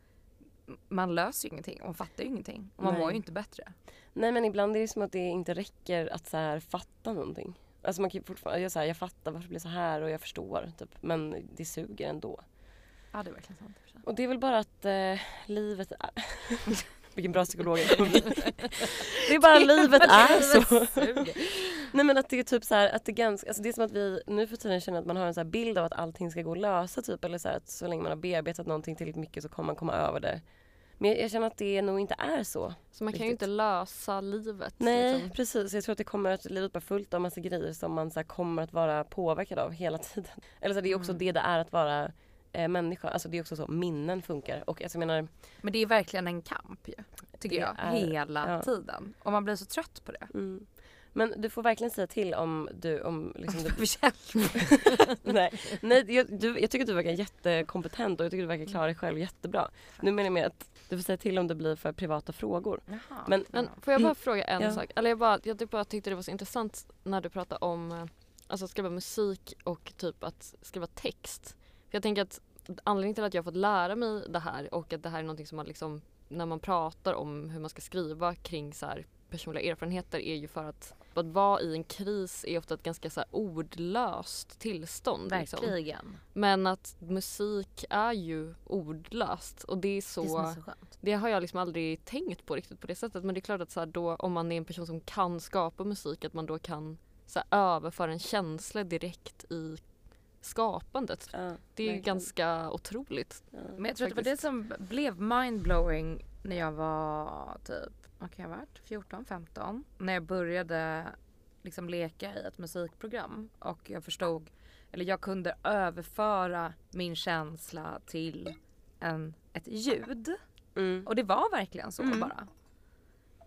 S1: man löser ju ingenting och man fattar ju ingenting. Och man
S2: Nej.
S1: mår ju inte bättre.
S2: Nej men ibland är det som att det inte räcker att så här fatta någonting. Alltså man kan ju fortfarande, jag, så här, jag fattar varför det blir så här och jag förstår typ. Men det suger ändå.
S1: Ja det är verkligen sant. i och för sig.
S2: Och det är väl bara att eh, livet är... *laughs* Vilken bra psykolog jag kommer bli. Det är *laughs* bara livet är så.
S1: Suger.
S2: Nej men att det är typ så här, att det är ganska, alltså det är som att vi nu för tiden känner att man har en så här bild av att allting ska gå att lösa typ eller så här att så länge man har bearbetat någonting tillräckligt mycket så kommer man komma över det. Men jag, jag känner att det nog inte är så.
S3: Så man kan ju
S2: Riktigt.
S3: inte lösa livet.
S2: Nej
S3: Liksom.
S2: precis, jag tror att det kommer att livet bara fullt av massa grejer som man så här kommer att vara påverkad av hela *laughs* tiden. Eller så här, det är också det det är att vara eh, människa, alltså det är också så minnen funkar och alltså, jag menar
S1: Men det är verkligen en kamp ju. Tycker
S2: Det
S1: jag.
S2: är-
S1: Hela
S2: ja.
S1: tiden. Och man blir så trött på det. *laughs*
S2: mm. Men du får verkligen säga till om du, om liksom *laughs* du *laughs* Nej, nej jag, du, jag tycker att du verkar jättekompetent och jag tycker att du verkar klara dig
S1: Mm.
S2: själv jättebra. Nu menar jag med att du får säga till om det blir för privata frågor.
S1: Jaha.
S2: Men-
S3: Men får *clears throat* jag bara fråga en
S2: Ja.
S3: sak? Eller jag, bara, jag typ bara tyckte det var så intressant när du pratade om eh, alltså att skriva musik och typ att skriva text. För jag tänker att anledningen till att jag har fått lära mig det här och att det här är någonting som man liksom när man pratar om hur man ska skriva kring så här personliga erfarenheter är ju för att att vara i en kris är ofta ett ganska så här, ordlöst tillstånd. liksom.
S1: Verkligen.
S3: Men att musik är ju ordlöst och det är så...
S1: Det som är så skönt.
S3: Det har jag liksom aldrig tänkt på riktigt på det sättet men det är klart att så här då, om man är en person som kan skapa musik att man då kan så här överföra en känsla direkt i skapandet.
S2: Ja,
S3: Det är ju
S2: verkligen.
S3: ganska otroligt.
S2: Ja.
S1: Men jag tror att det var det som blev mindblowing när jag var typ, vad kan jag ha varit, 14, 15. När jag började liksom leka i ett musikprogram och jag förstod, eller jag kunde överföra min känsla till en, ett ljud.
S2: Mm.
S1: Och det var verkligen så bara.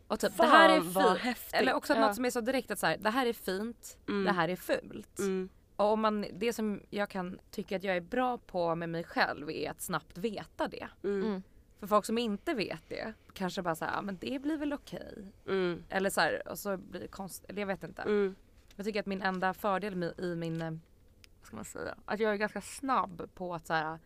S1: Och typ,
S2: Fan,
S1: det här är
S2: vad
S1: fint.
S2: häftigt.
S1: Eller också
S3: Ja.
S1: något som är så direkt att så här, det här är fint, det här är fult.
S2: Mm.
S1: Och om man, det som jag kan tycka att jag är bra på med mig själv är att snabbt veta det.
S2: Mm.
S3: Mm.
S1: För folk som inte vet det kanske bara såhär, ja men det blir väl okej.
S2: Mm.
S1: Eller såhär, och så blir det konstigt, eller jag vet inte.
S2: Mm.
S1: Jag tycker att min enda fördel med, i min, eh, vad ska man säga, att jag är ganska snabb på att såhär,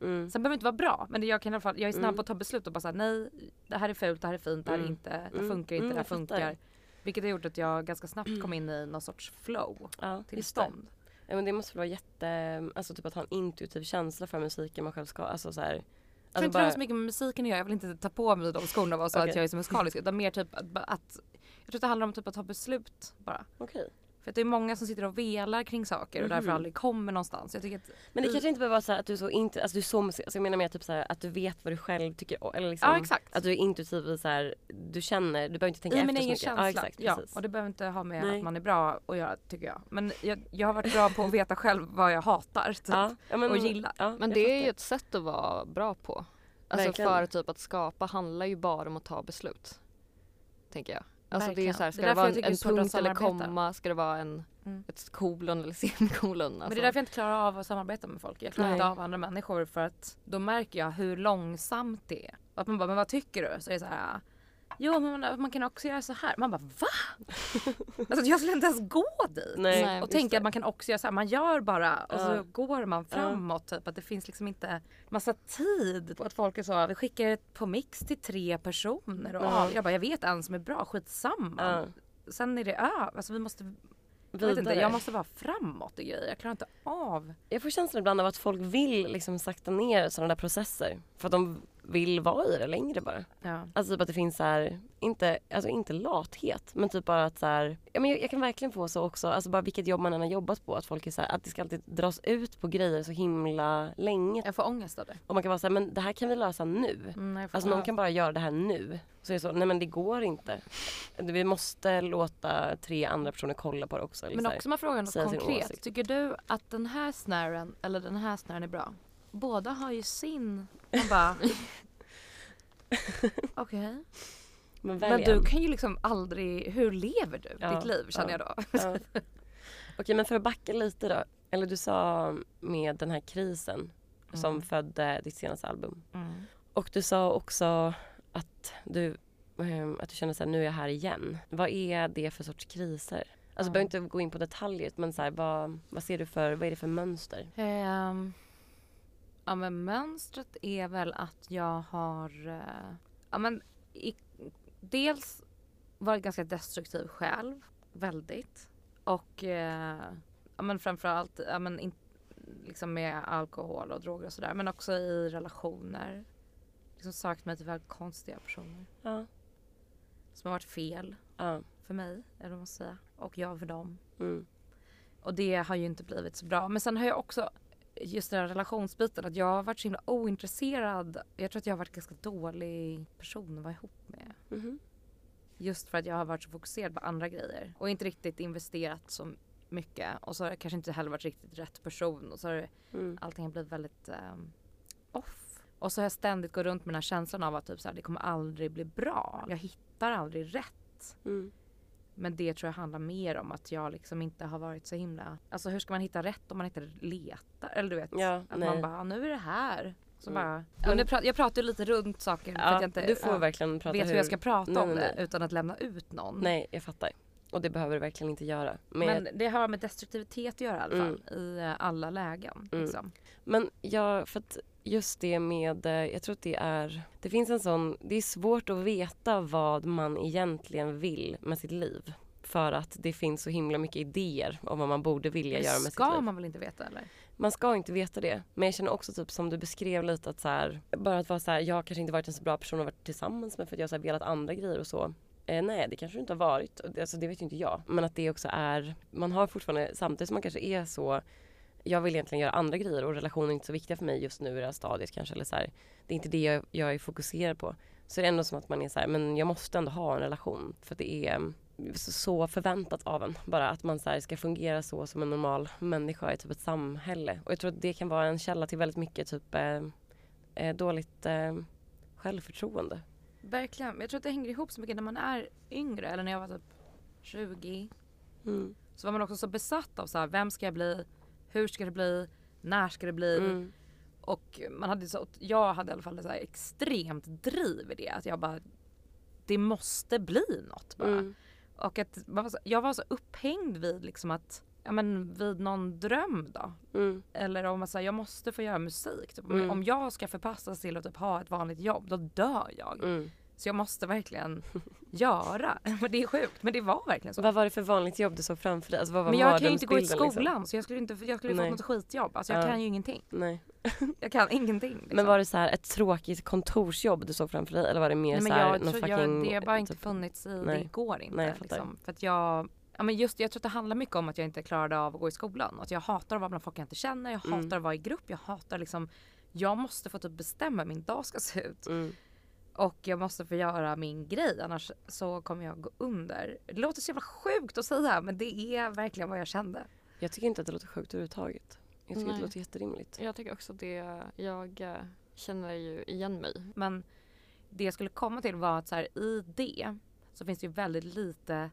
S2: Mm.
S1: sen behöver det inte vara bra, men jag kan i alla fall, jag är snabb
S2: Mm.
S1: på att ta beslut och bara såhär, nej det här är fult, det här är fint, det här är
S2: Mm.
S1: inte, det
S2: Mm.
S1: funkar inte,
S2: Mm,
S1: det här
S2: jag fattar.
S1: funkar. Vilket har gjort att jag ganska snabbt kom in i någon sorts flow
S2: Ja, just det.
S1: tillstånd.
S2: Ja, men det måste väl vara jätte, alltså typ att ha en intuitiv känsla för musiken man själv ska, alltså så här.
S1: Jag tror
S2: Alltså
S1: inte det har så mycket med musiken att göra. Jag vill inte ta på mig de skorna och vara så
S2: Okej.
S1: att jag är så musikalisk. Utan mer typ att, att... Jag tror att det handlar om typ att ta beslut bara.
S2: okej.
S1: För att det är många som sitter och velar kring saker och därför
S2: Mhm.
S1: aldrig kommer någonstans. Jag tycker att...
S2: Men det kanske inte behöver vara så här att du är så inte, alltså du är så musik, alltså jag menar mer typ så här att du vet vad du själv tycker om, eller liksom.
S1: Ja exakt.
S2: Att du är intuitiv i så här, du känner, du behöver inte tänka
S1: I
S2: efter
S1: min
S2: så
S1: egen
S2: mycket.
S1: känsla.
S2: Ja exakt,
S1: ja,
S2: precis.
S1: och det behöver inte ha med
S2: Nej.
S1: att man är bra att göra tycker jag. Men jag, jag har varit bra på att veta själv vad jag hatar. Typ.
S2: ja, ja, men,
S1: och gillar.
S2: Ja,
S3: Men
S2: jag
S3: det är
S2: fattar.
S3: ju ett sätt att vara bra på. Alltså
S2: Verkligen.
S3: för typ att skapa handlar ju bara om att ta beslut. Tänker jag. Alltså det är ju
S1: Verkligen.
S3: så här, ska
S1: Det är
S3: det,
S1: därför
S3: vara
S1: jag
S3: en,
S1: tycker det är
S3: en
S1: svårt att
S3: punkt eller
S1: samarbeta.
S3: komma? Ska det vara en,
S1: Mm.
S3: ett kolon eller *laughs* semikolon? Alltså.
S1: Men det är därför jag inte klarar av att samarbeta med folk. Jag klarar inte
S2: Nej.
S1: av andra människor för att då märker jag hur långsamt det är. Och att man bara, men vad tycker du? Så är det så här, jo men man, man kan också göra så här. Man bara, va?
S2: *laughs*
S1: alltså jag skulle inte ens gå dit.
S2: Nej,
S3: Nej,
S1: och
S3: just
S1: tänka
S2: det.
S1: att man kan också göra så här, man gör bara och
S2: Ja.
S1: så går man framåt. Typ att det finns liksom inte massa tid på att folk är så, vi skickar ett på mix till tre personer. Och
S2: Ja.
S1: av. Jag bara, jag vet en som är bra, skitsamma.
S2: Ja.
S1: Sen är det över, alltså vi måste jag, vet
S2: Vidare.
S1: inte, jag måste vara framåt och grejer. Jag klarar inte av.
S2: Jag får känslan ibland av att folk vill liksom sakta ner sådana där processer. För att de vill vara i det längre bara.
S1: Ja.
S2: Alltså typ att det finns så här, inte, alltså inte lathet, men typ bara att så här, ja men jag, jag kan verkligen få så också, alltså bara vilket jobb man än har jobbat på, att folk är så här, att det ska alltid dras ut på grejer så himla länge.
S1: Jag får ångest av det.
S2: Och man kan vara så här, men det här kan vi lösa nu.
S1: Mm, jag får
S2: Alltså någon kan bara göra det här nu. Så är det så, nej men det går inte. Vi måste låta tre andra personer kolla på det också. Eller
S1: Men
S2: så här.
S1: också man frågar något
S2: säga sin
S1: konkret.
S2: åsikt.
S1: Tycker du att den här snären eller den här snären är bra? Båda har ju sin. Man
S2: *laughs*
S1: bara... Okej.
S2: men
S1: Men
S2: välj
S1: du
S2: en.
S1: kan ju liksom aldrig... Hur lever du
S2: Ja,
S1: ditt liv känner
S2: ja.
S1: jag då?
S2: Ja. Okej men för att backa lite då. Eller du sa med den här krisen
S1: Mm.
S2: som födde ditt senaste album. Och du sa också att du, ehm, att du kände så här, nu är jag här igen. Vad är det för sorts kriser? Alltså
S1: Ja.
S2: du behöver inte gå in på detaljer men så här, vad, vad ser du för, vad är det för mönster?
S1: Ehm, ja men mönstret är väl att jag har... eh, ja men i, dels varit ganska destruktiv själv. Väldigt. Och eh, ja men framförallt ja men in, liksom med alkohol och droger och sådär. Men också i relationer. Liksom sökt mig till väldigt konstiga personer.
S2: Ja.
S1: Som har varit fel
S2: Ja.
S1: för mig, eller vad man ska säga. Och jag för dem.
S2: Mm.
S1: Och det har ju inte blivit så bra. Men sen har jag också just den här relationsbiten att jag har varit så himla ointresserad. Jag tror att jag har varit ganska dålig person att vara ihop med.
S2: Mhm.
S1: Just för att jag har varit så fokuserad på andra grejer och inte riktigt investerat så mycket. Och så har jag kanske inte heller varit riktigt rätt person och så har
S2: Mm.
S1: allting har blivit väldigt ehm, off. Och så har jag ständigt gått runt med den här känslan av att typ så här, det kommer aldrig bli bra. Jag hittar aldrig rätt.
S2: Mm.
S1: Men det tror jag handlar mer om att jag liksom inte har varit så himla... Alltså hur ska man hitta rätt om man inte letar? Eller du vet,
S2: Ja,
S1: att
S2: nej.
S1: man bara, "Mm, nu är det här. Så
S2: Mm.
S1: bara... Ja, nu pratar, jag pratar ju lite runt saker för att jag inte
S2: du får
S1: ja,
S2: verkligen prata
S1: vet hur jag ska prata
S2: Nej,
S1: om
S2: nej,
S1: det utan att lämna ut någon.
S2: Nej, jag fattar. Och det behöver du verkligen inte göra. Men,
S1: Men
S2: jag,
S1: det har med destruktivitet att göra i alla fall, i eh, alla lägen.
S2: Mm.
S1: Liksom.
S2: men jag, för att just det med, eh, jag tror att det är, det finns en sån, det är svårt att veta vad man egentligen vill med sitt liv. För att det finns så himla mycket idéer om vad man borde vilja göra med sitt
S1: ska
S2: liv.
S1: man väl inte veta eller?
S2: Man ska inte veta det. Men jag känner också typ som du beskrev lite att så här, bara att vara så här, jag kanske inte varit en så bra person att vara tillsammans med för att jag har så här velat andra grejer och så. Eh, nej, det kanske du inte har varit. Och det- Alltså, det vet ju inte jag. Men att det också är, man har fortfarande, samtidigt som man kanske är så, jag vill egentligen göra andra grejer och relationer är inte så viktiga för mig just nu i det här stadiet kanske. Eller så här, det är inte det jag, jag är fokuserad på. Så är det ändå som att man är så här, men jag måste ändå ha en relation. För att det är så- så förväntat av en. Bara att man så här ska fungera så som en normal människa i typ ett samhälle. Och jag tror att det kan vara en källa till väldigt mycket typ eh, eh, dåligt eh, självförtroende.
S1: Verkligen. Men Jag tror att det hänger ihop så mycket när man är yngre eller när jag var typ 20.
S2: Mm.
S1: Så var man också så besatt av så här, vem ska jag bli? Hur ska det bli? När ska det bli?
S2: Mm.
S1: Och man hade så, jag hade i alla fall så här extremt driv i det. Att jag bara, det måste bli något bara.
S2: Mm.
S1: Och att man var så, jag var så upphängd vid liksom att, ja men vid någon dröm då.
S2: Mm.
S1: Eller om man säger jag måste få göra musik. Typ. Om-
S2: Mm.
S1: Om jag ska förpassas till att typ ha ett vanligt jobb, då dör jag.
S2: Mm.
S1: Så jag måste
S2: *laughs*
S1: verkligen göra. Men det är sjukt, men det var verkligen så.
S2: Vad var det för vanligt jobb du såg framför dig? Alltså, vad var
S1: Men jag kan ju inte gå i
S2: mardrömsbilden,
S1: skolan
S2: liksom?
S1: så jag skulle inte, jag skulle ju fått
S2: Nej.
S1: något skitjobb. Alltså jag
S2: Ja.
S1: kan ju ingenting.
S2: Nej.
S1: Jag kan ingenting. Liksom.
S2: Men var det så här ett tråkigt kontorsjobb du såg framför dig? Eller var det mer
S1: Nej,
S2: så
S1: men
S2: här
S1: jag,
S2: någon
S1: tror
S2: fucking...
S1: jag, det har bara inte
S2: typ-
S1: funnits i,
S2: Nej.
S1: det går inte.
S2: Nej, jag fattar.
S1: liksom. För att jag, ja, men just, det, jag tror att det handlar mycket om att jag inte klarade av att gå i skolan. Att jag hatar att vara bland folk jag inte känner, jag
S2: Mm.
S1: hatar att vara i grupp, jag hatar liksom, jag måste få typ bestämma hur min dag ska se ut.
S2: Mm.
S1: Och jag måste få göra min grej annars så kommer jag gå under. Det låter så jävla sjukt att säga men det är verkligen vad jag kände.
S2: Jag tycker inte att det låter sjukt överhuvudtaget. Jag tycker att
S3: Nej.
S2: det låter jätterimligt.
S3: Jag tycker också det, jag eh, känner ju igen mig.
S1: Men det jag skulle komma till var att så här, i det så finns det ju väldigt lite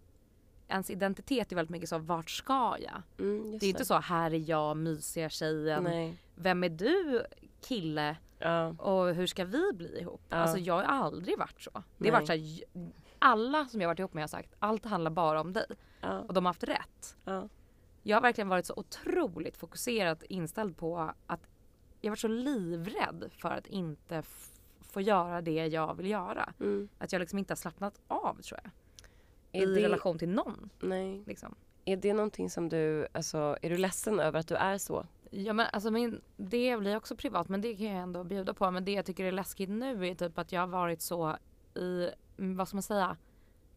S1: Ens identitet är väldigt mycket så, vart ska jag?
S2: Mm, just
S1: Det är inte så, här är jag, mysiga tjejen.
S2: Nej.
S1: Vem är du kille?
S2: Ja.
S1: Och hur ska vi bli ihop?
S2: Ja.
S1: Alltså jag har aldrig varit så. Det har
S2: Nej.
S1: varit så här, j- alla som jag har varit ihop med har sagt, allt handlar bara om dig.
S2: Ja.
S1: Och de har haft rätt.
S2: Ja.
S1: Jag har verkligen varit så otroligt fokuserad inställd på att jag har varit så livrädd för att inte f- få göra det jag vill göra.
S2: Mm.
S1: Att jag liksom inte har slappnat av tror jag.
S2: Är,
S1: I
S2: det,
S1: relation till någon.
S2: nej.
S1: Liksom.
S2: är det någonting som du, alltså, är du ledsen över att du är så?
S1: Ja men alltså min, det blir också privat men det kan jag ändå bjuda på. Men det jag tycker är läskigt nu är typ att jag har varit så i, mm, vad ska man säga,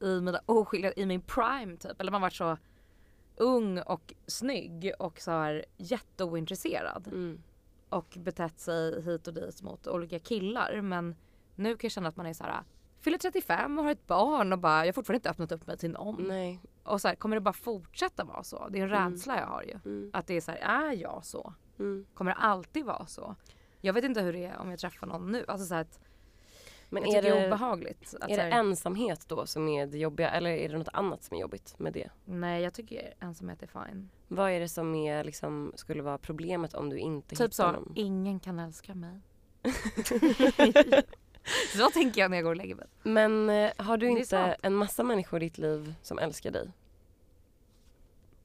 S1: i mina *laughs* oskyldiga, i min prime typ. Eller man har varit så ung och snygg och så här jätteointresserad.
S2: Mm.
S1: och betett sig hit och dit mot olika killar. Men nu kan jag känna att man är så här fyller 35 och har ett barn och bara jag har fortfarande inte öppnat upp mig till någon.
S2: Nej.
S1: Och så här, kommer det bara fortsätta vara så? Det är en
S2: Mm.
S1: rädsla jag har ju.
S2: Mm.
S1: Att det är så här, är jag så?
S2: Mm.
S1: Kommer det alltid vara så? Jag vet inte hur det är om jag träffar någon nu. Alltså så här att
S2: Men
S1: jag
S2: är
S1: tycker det är
S2: det,
S1: obehagligt. Att
S2: är
S1: så
S2: det
S1: här,
S2: ensamhet då som är det jobbiga eller är det något annat som är jobbigt med det?
S1: Nej jag tycker ensamhet är fine.
S2: Vad är det som är, liksom, skulle vara problemet om du inte hittar
S1: Typ så,
S2: någon?
S1: ingen kan älska mig. *laughs* så tänker jag när jag går och lägger mig.
S2: Men eh, har du
S1: Det är
S2: inte
S1: sant.
S2: en massa människor i ditt liv som älskar dig?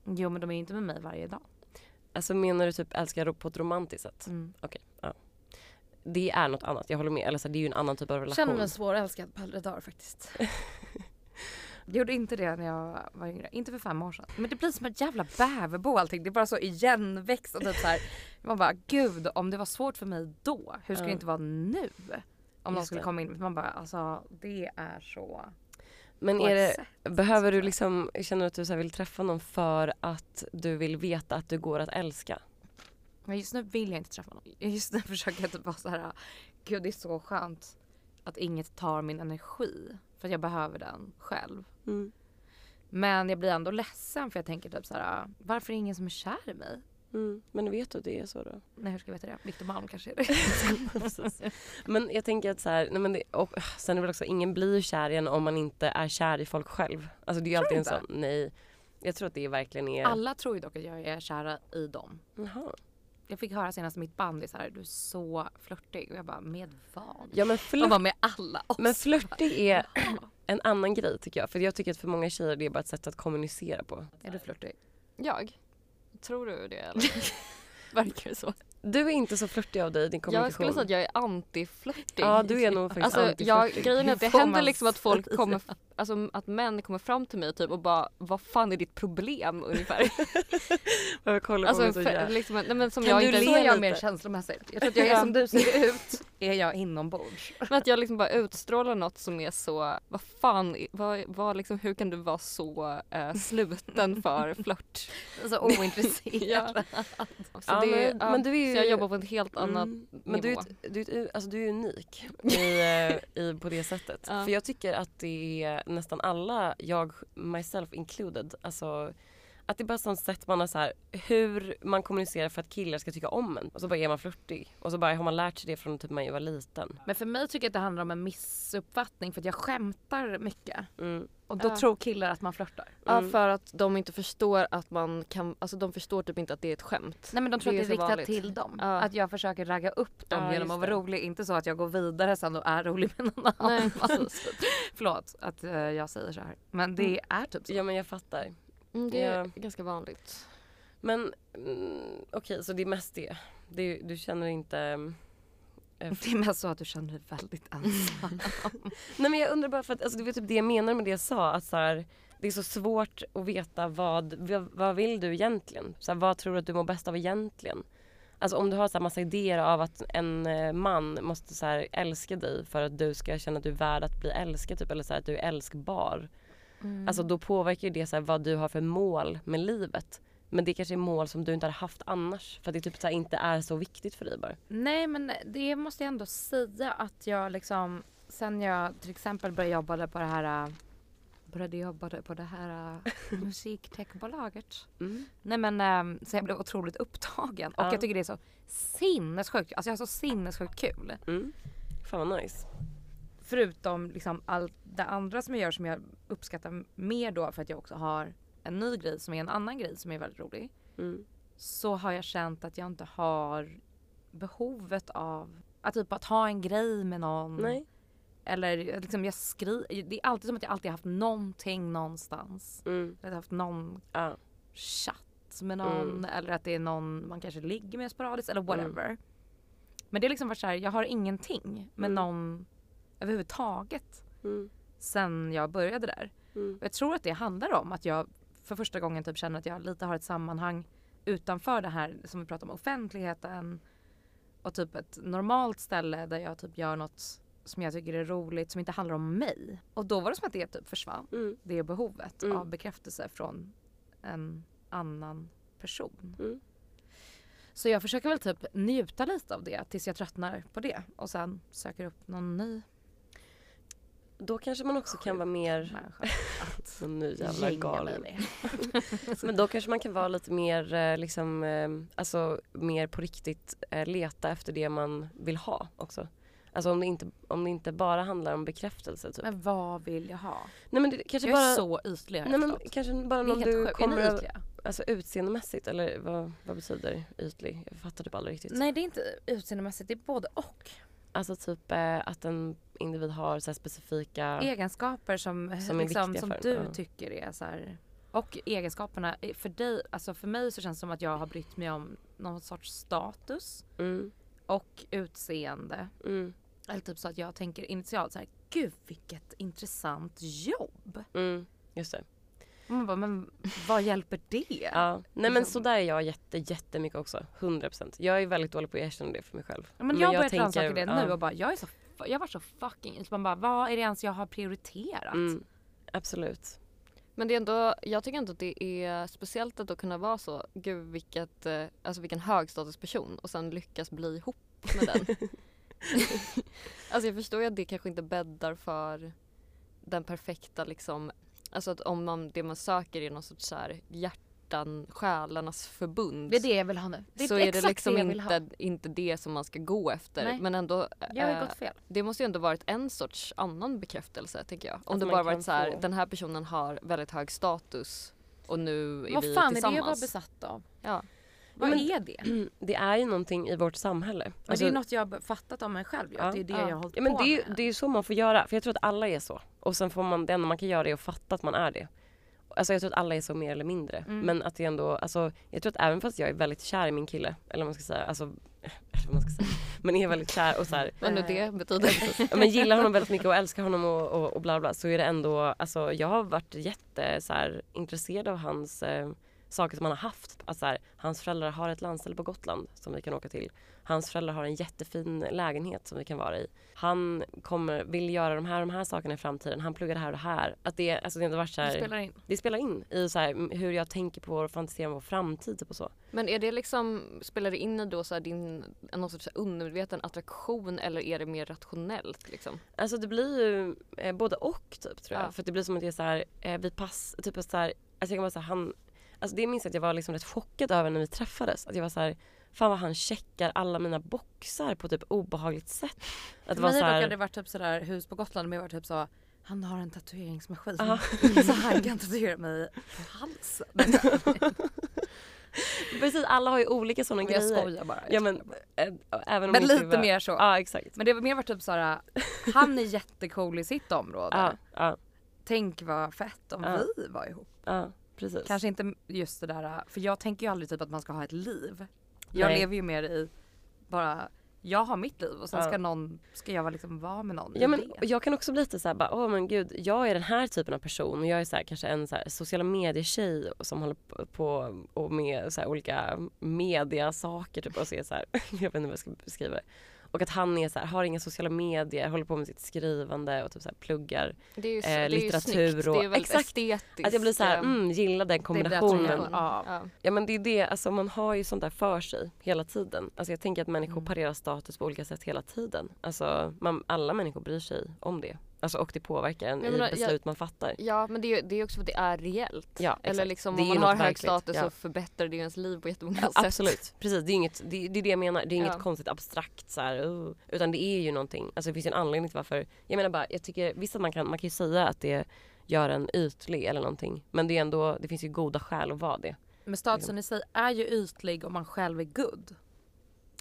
S1: Jo men de är ju inte med mig varje dag.
S2: Alltså menar du typ älskar på ett romantiskt sätt?
S1: Mm.
S2: Det är något annat, jag håller med. Eller så, här, det är ju en annan typ av relation.
S1: Känner mig svårälskad på äldre dagar
S2: *laughs*
S1: faktiskt. Jag gjorde inte det när jag var yngre. Inte för fem år sedan. Men det blir som ett jävla bäverbo allting. Det är bara så igenväxt och typ så här. Man bara gud om det var svårt för mig då. Hur ska
S2: Ja.
S1: det inte vara nu? Om någon
S2: Just
S1: skulle
S2: det.
S1: komma in. Man bara alltså det är så.
S2: Men
S1: på
S2: är
S1: ett
S2: det,
S1: sätt,
S2: behöver du
S1: tror jag.
S2: liksom, känner du att du så här vill träffa någon för att du vill veta att du går att älska?
S1: Men just nu vill jag inte träffa någon. Just nu *laughs* försöker jag typ vara så här. Gud det är så skönt att inget tar min energi. För att jag behöver den själv.
S2: Mm.
S1: Men jag blir ändå ledsen för jag tänker typ så här. varför är det ingen som är kär i mig?
S2: Men vet du att det är så då?
S1: Nej hur ska jag veta det? Victor Malm kanske är det.
S2: Precis. men jag tänker att så här, nej men det, och, öh, sen är det väl också, ingen blir ju kär igen om man inte är kär i folk själv. Alltså det är ju alltid en
S1: inte?
S2: sån, nej. Jag tror att det verkligen är...
S1: Alla tror ju dock att jag är kära i dem.
S2: Jaha.
S1: Jag fick höra senast i mitt band är så här, du är så flörtig. Och jag bara, med vad?
S2: Ja men
S1: De
S2: flört,
S1: var med alla oss.
S2: men flörtig är en annan grej tycker jag. För jag tycker att för många tjejer det är bara ett sätt att kommunicera på.
S1: Är du flörtig?
S3: *laughs* Jag? Tror du det eller? Verkar det så?
S2: Du är inte så flörtig av dig, din
S3: Jag
S2: kommunikation.
S3: skulle säga att jag är antiflörtig.
S2: Ja, du är nog faktiskt
S3: Alltså,
S2: anti-
S3: jag, grejen är att det
S1: Får man
S3: händer liksom att folk
S1: säga?
S3: kommer, alltså att män kommer fram till mig typ och bara vad fan är ditt problem ungefär?
S2: Jag kollar på
S3: Alltså
S2: mig så
S3: för,
S2: jävla-
S3: liksom, nej, men som
S2: Kan
S3: jag
S2: du
S3: inte,
S1: Så
S2: le
S1: är jag
S2: lite.
S1: mer känslomässigt. Jag tror att jag är som du ser ut, *laughs* är jag inombords.
S3: *laughs* men att jag liksom bara utstrålar något som är så, vad fan, är- vad, vad liksom, hur kan du vara så eh, sluten för flört?
S1: Så ointresserad.
S3: *laughs* Ja. Så
S2: Ja,
S3: det,
S2: men-
S3: ja,
S2: men du är ju-
S3: så jag jobbar på en helt annat
S2: Mm. Men du är,
S3: nivå.
S2: ett, du, är ett, u- alltså du är unik
S3: *laughs*
S2: i, eh, i, på det sättet.
S3: Ja.
S2: För jag tycker att det är nästan alla, jag myself included, alltså att det är bara ett sånt sätt man har så här, hur man kommunicerar för att killar ska tycka om en. Och så bara är man flörtig. Och så bara har man lärt sig det från typ man var liten.
S1: Men för mig tycker jag att det handlar om en missuppfattning för att jag skämtar mycket.
S2: Mm.
S1: Och då
S3: Ja.
S1: tror killar att man flörtar.
S3: Ja,
S2: Mm.
S3: för att de inte förstår att man kan, alltså de förstår typ inte att det är ett skämt.
S1: Nej men de tror
S3: Det
S1: att
S3: är
S1: det
S3: så
S1: är riktat
S3: vanligt.
S1: till dem.
S3: Ja.
S1: Att jag försöker ragga upp dem
S2: Ja,
S1: genom att vara
S2: just det.
S1: rolig. Inte så att jag går vidare sen och är rolig med någon annan. Alltså,
S3: Nej,
S1: *laughs*
S3: precis.
S1: Förlåt att eh, jag säger så här. Men det är typ så.
S2: Ja men jag fattar.
S3: Mm, det är
S2: Ja.
S3: ganska vanligt.
S2: Men mm, okej så det är mest det. det är, du känner inte... eh,
S1: Det är mest så att du känner dig väldigt ensam.
S2: Nej men jag undrar bara för att alltså, det var typ det jag menar med det jag sa att så här, det är så svårt att veta vad, vad, vad vill du egentligen? Så här, vad tror du att du mår bäst av egentligen? Alltså om du har så här massa idéer av att en eh, man måste så här, älska dig för att du ska känna att du är värd att bli älskad typ, eller så här, att du är älskbar. Alltså då påverkar ju det så här, vad du har för mål med livet. Men det kanske är mål som du inte har haft annars för att det typ så här, inte är så viktigt för dig bara.
S1: *laughs* Nej men det måste jag ändå säga att jag liksom sen jag till exempel började jobba på det här äh, började jobba på det här äh, *laughs* musiktechbolaget.
S2: Mm.
S1: Nej men ähm, så jag blev otroligt upptagen och
S2: Ja.
S1: jag tycker det är så sinnessjukt, alltså jag har så sinnessjukt kul.
S2: Mm. Fan vad nice.
S1: Förutom liksom allt det andra som jag gör som jag uppskattar mer då för att jag också har en ny grej som är en annan grej som är väldigt rolig.
S2: Mm.
S1: Så har jag känt att jag inte har behovet av att typ att ha en grej med någon.
S2: Nej.
S1: Eller liksom jag skriver. Det är alltid som att jag alltid haft någonting någonstans.
S2: Mm.
S1: Eller haft någon
S2: Ja.
S1: chatt med någon.
S2: Mm.
S1: Eller att det är någon man kanske ligger med sporadiskt eller whatever. Men det har liksom varit så här, jag har ingenting med
S2: Mm.
S1: någon överhuvudtaget
S2: Mm.
S1: sen jag började där.
S2: Mm.
S1: Och jag tror att det handlar om att jag för första gången typ känner att jag lite har ett sammanhang utanför det här som vi pratar om offentligheten och typ ett normalt ställe där jag typ gör något som jag tycker är roligt som inte handlar om mig. Och då var det som att det typ försvann.
S2: Mm.
S1: Det behovet
S2: Mm.
S1: av bekräftelse från en annan person.
S2: Mm.
S1: Så jag försöker väl typ njuta lite av det tills jag tröttnar på det och sen söker upp någon ny
S2: Då kanske man också kan vara mer...
S1: människa.
S2: Så nu *laughs* jävla
S1: Gänga mig
S2: galen.
S1: med.
S2: *laughs* Men då kanske man kan vara lite mer eh, liksom, eh, alltså mer på riktigt eh, leta efter det man vill ha också. Alltså om det inte, om det inte bara handlar om bekräftelse typ.
S1: Men vad vill jag ha?
S2: Nej men det, kanske
S1: Jag är
S2: bara...
S1: så ytlig har
S2: Nej
S1: jag
S2: men
S1: förstått.
S2: kanske bara
S1: Det är
S2: någon
S1: helt
S2: du
S1: sjukt. Är ni
S2: kommer över-
S1: ytliga?
S2: alltså utseendemässigt eller vad, vad betyder ytlig? Jag fattar typ aldrig riktigt.
S1: Nej det är inte utseendemässigt, det är både och.
S2: Alltså typ eh, att en individ har så här specifika...
S1: Egenskaper som,
S2: Som
S1: som,
S2: är
S1: liksom,
S2: viktiga
S1: som
S2: för-
S1: du
S2: ja.
S1: tycker är så här. Och egenskaperna, eh, för dig, alltså för mig så känns det som att jag har brytt mig om någon sorts status
S2: Mm,
S1: och utseende.
S2: mm,
S1: Eller typ så att jag tänker initialt så här, gud vilket intressant jobb.
S2: mm. Just det.
S1: Och man bara, men vad hjälper det?
S2: Ja. Nej men
S1: Liksom.
S2: så där är jag jätte, jättemycket också. 100%. Jag är väldigt dålig på att erkänna det för mig själv.
S1: Men, jag har börjat
S2: tänker-
S1: rannsaka det
S2: ja.
S1: nu och bara, jag är så, jag var så fucking, man bara, vad är det ens jag har prioriterat?
S2: Mm, absolut.
S3: Men det är ändå, jag tycker ändå att det är speciellt att då kunna vara så, gud vilket, eh, alltså vilken högstatusperson och sen lyckas bli ihop med *laughs* den. alltså jag förstår ju att det kanske inte bäddar för den perfekta liksom, alltså att om man, det man söker är någon sorts så här hjärtan, själarnas förbund.
S1: Det är det jag vill ha nu. Det
S3: så är det
S1: exakt
S3: liksom
S1: jag vill
S3: inte, inte det som man ska gå efter.
S1: Nej.
S3: Men ändå,
S1: ha. Jag har
S3: eh,
S1: gått fel.
S3: det måste ju ändå varit en sorts annan bekräftelse tänker jag. Om
S2: Att
S3: det
S2: man
S3: bara
S2: kan
S3: varit så här,
S2: få-
S3: den här personen har väldigt hög status och nu är vi
S1: Vad fan är det jag var
S3: tillsammans.
S1: besatt av?
S3: ja.
S1: Vad
S2: Men- *clears throat*
S1: är det? Men
S2: Det är ju någonting i vårt samhälle.
S1: det är något jag har fattat om mig själv. Ja.
S2: Ja.
S1: Det är det
S3: Ja.
S1: jag har hållit
S2: ja, men
S1: på
S2: det, är, ju-
S1: med.
S2: det är ju så man får göra. För jag tror att alla är så. Och sen får man, det enda man kan göra är att fatta att man är det. Alltså jag tror att alla är så
S1: Mm.
S2: mer eller mindre. Men att det ändå, alltså, *laughs* jag tror att även fast jag är väldigt kär i min kille, eller vad man ska säga, alltså vad man ska säga. Men är väldigt kär och så här,
S3: Vad nu det betyder. *laughs*
S2: men gillar honom väldigt mycket och älskar honom och, och, och bla bla så är det ändå, alltså jag har varit jätte så här, intresserad av hans eh, saker som han har haft. Att, så här, hans föräldrar har ett landställe på Gotland som vi kan åka till. Hans föräldrar har en jättefin lägenhet som vi kan vara i. Han kommer, vill göra de här de här sakerna i framtiden. Han pluggar det här och det här. Att det, alltså det har inte varit så
S1: Du
S2: här,
S1: spelar in.
S2: det spelar in i så här, hur jag tänker på och fantiserar om vår framtid typ och så.
S3: Men är det liksom, spelar det in i då så här din, någon sorts undermedveten attraktion eller är det mer rationellt liksom?
S2: Alltså det blir ju eh, både och typ tror jag.
S3: Ja.
S2: För att det blir som att det är så här, eh, vi pass, typ så här, alltså jag kan bara säga han, alltså det minns jag att jag var liksom rätt chockad över när vi träffades. Att jag var så här, fan vad han checkar alla mina boxar på typ obehagligt sätt. Att det
S1: För
S2: var
S1: mig
S2: så
S1: dock
S2: här,
S1: hade det varit typ sådär hus på Gotland men jag var typ så han har en tatueringsmaskin.
S2: Ja.
S1: *laughs* Så han kan tatuera mig på halsen.
S2: precis alla har ju olika sådana
S1: Men jag
S2: grejer.
S1: skojar bara.
S2: Ja men, eh, även om
S1: men
S2: min
S1: lite
S2: kuva-
S1: mer så.
S2: Ja exakt.
S1: Men det var mer varit typ såhär, han är jättecool i sitt område.
S2: Ja, ja,
S1: Tänk vad fett om
S2: Ja.
S1: vi var ihop.
S2: ja precis.
S1: Kanske inte just det där, för jag tänker ju aldrig typ att man ska ha ett liv. Jag
S2: Nej.
S1: lever ju mer i bara, jag har mitt liv och sen
S2: Ja.
S1: ska någon, ska jag liksom vara med någon i
S2: Ja, men
S1: det.
S2: jag kan också bli lite så här, bara, åh men gud, jag är den här typen av person och jag är så här, kanske en så här, sociala medier-tjej som håller på- på och med så här, olika mediasaker typ och så är så här, *laughs* jag vet inte vad jag ska beskriva det. Och att han är så här, har inga sociala medier, håller på med sitt skrivande och typ så här, pluggar.
S3: Det är ju,
S2: Eh, litteratur
S3: snyggt,
S2: och-
S3: det är väldigt
S2: exakt.
S3: estetiskt.
S2: Att jag blir så här,
S3: eh,
S2: mm, gillar den
S1: Det är det
S2: kombinationen.
S1: jag tror jag- ja.
S3: Ja.
S2: Ja men det är det, alltså man har ju sånt där för sig hela tiden. Alltså jag tänker att människor
S1: Mm.
S2: parerar status på olika sätt hela tiden. Alltså man, alla människor bryr sig om det. Alltså och det påverkar en
S3: Jag
S2: i
S3: menar,
S2: beslut man fattar.
S3: Ja men det är, ju- det är också för att det är reellt.
S2: Ja,
S3: Eller
S2: exakt.
S3: liksom
S2: Det är
S3: om man
S2: ju
S3: har
S2: något
S3: hög
S2: verkligt,
S3: status
S2: ja.
S3: så förbättrar det ju ens liv på jättemånga sätt.
S2: Absolut, precis. Det är, inget, det, är- det är det jag menar. Det är inget
S3: Ja.
S2: konstigt abstrakt så här, "Oh", utan det är ju någonting. Alltså det finns ju en anledning till varför. Jag menar bara, jag tycker visst att man kan, man kan ju säga att det gör en ytlig eller någonting. Men det är ändå, det finns ju goda skäl att vara det.
S1: Men statusen i sig är ju ytlig om man själv är good.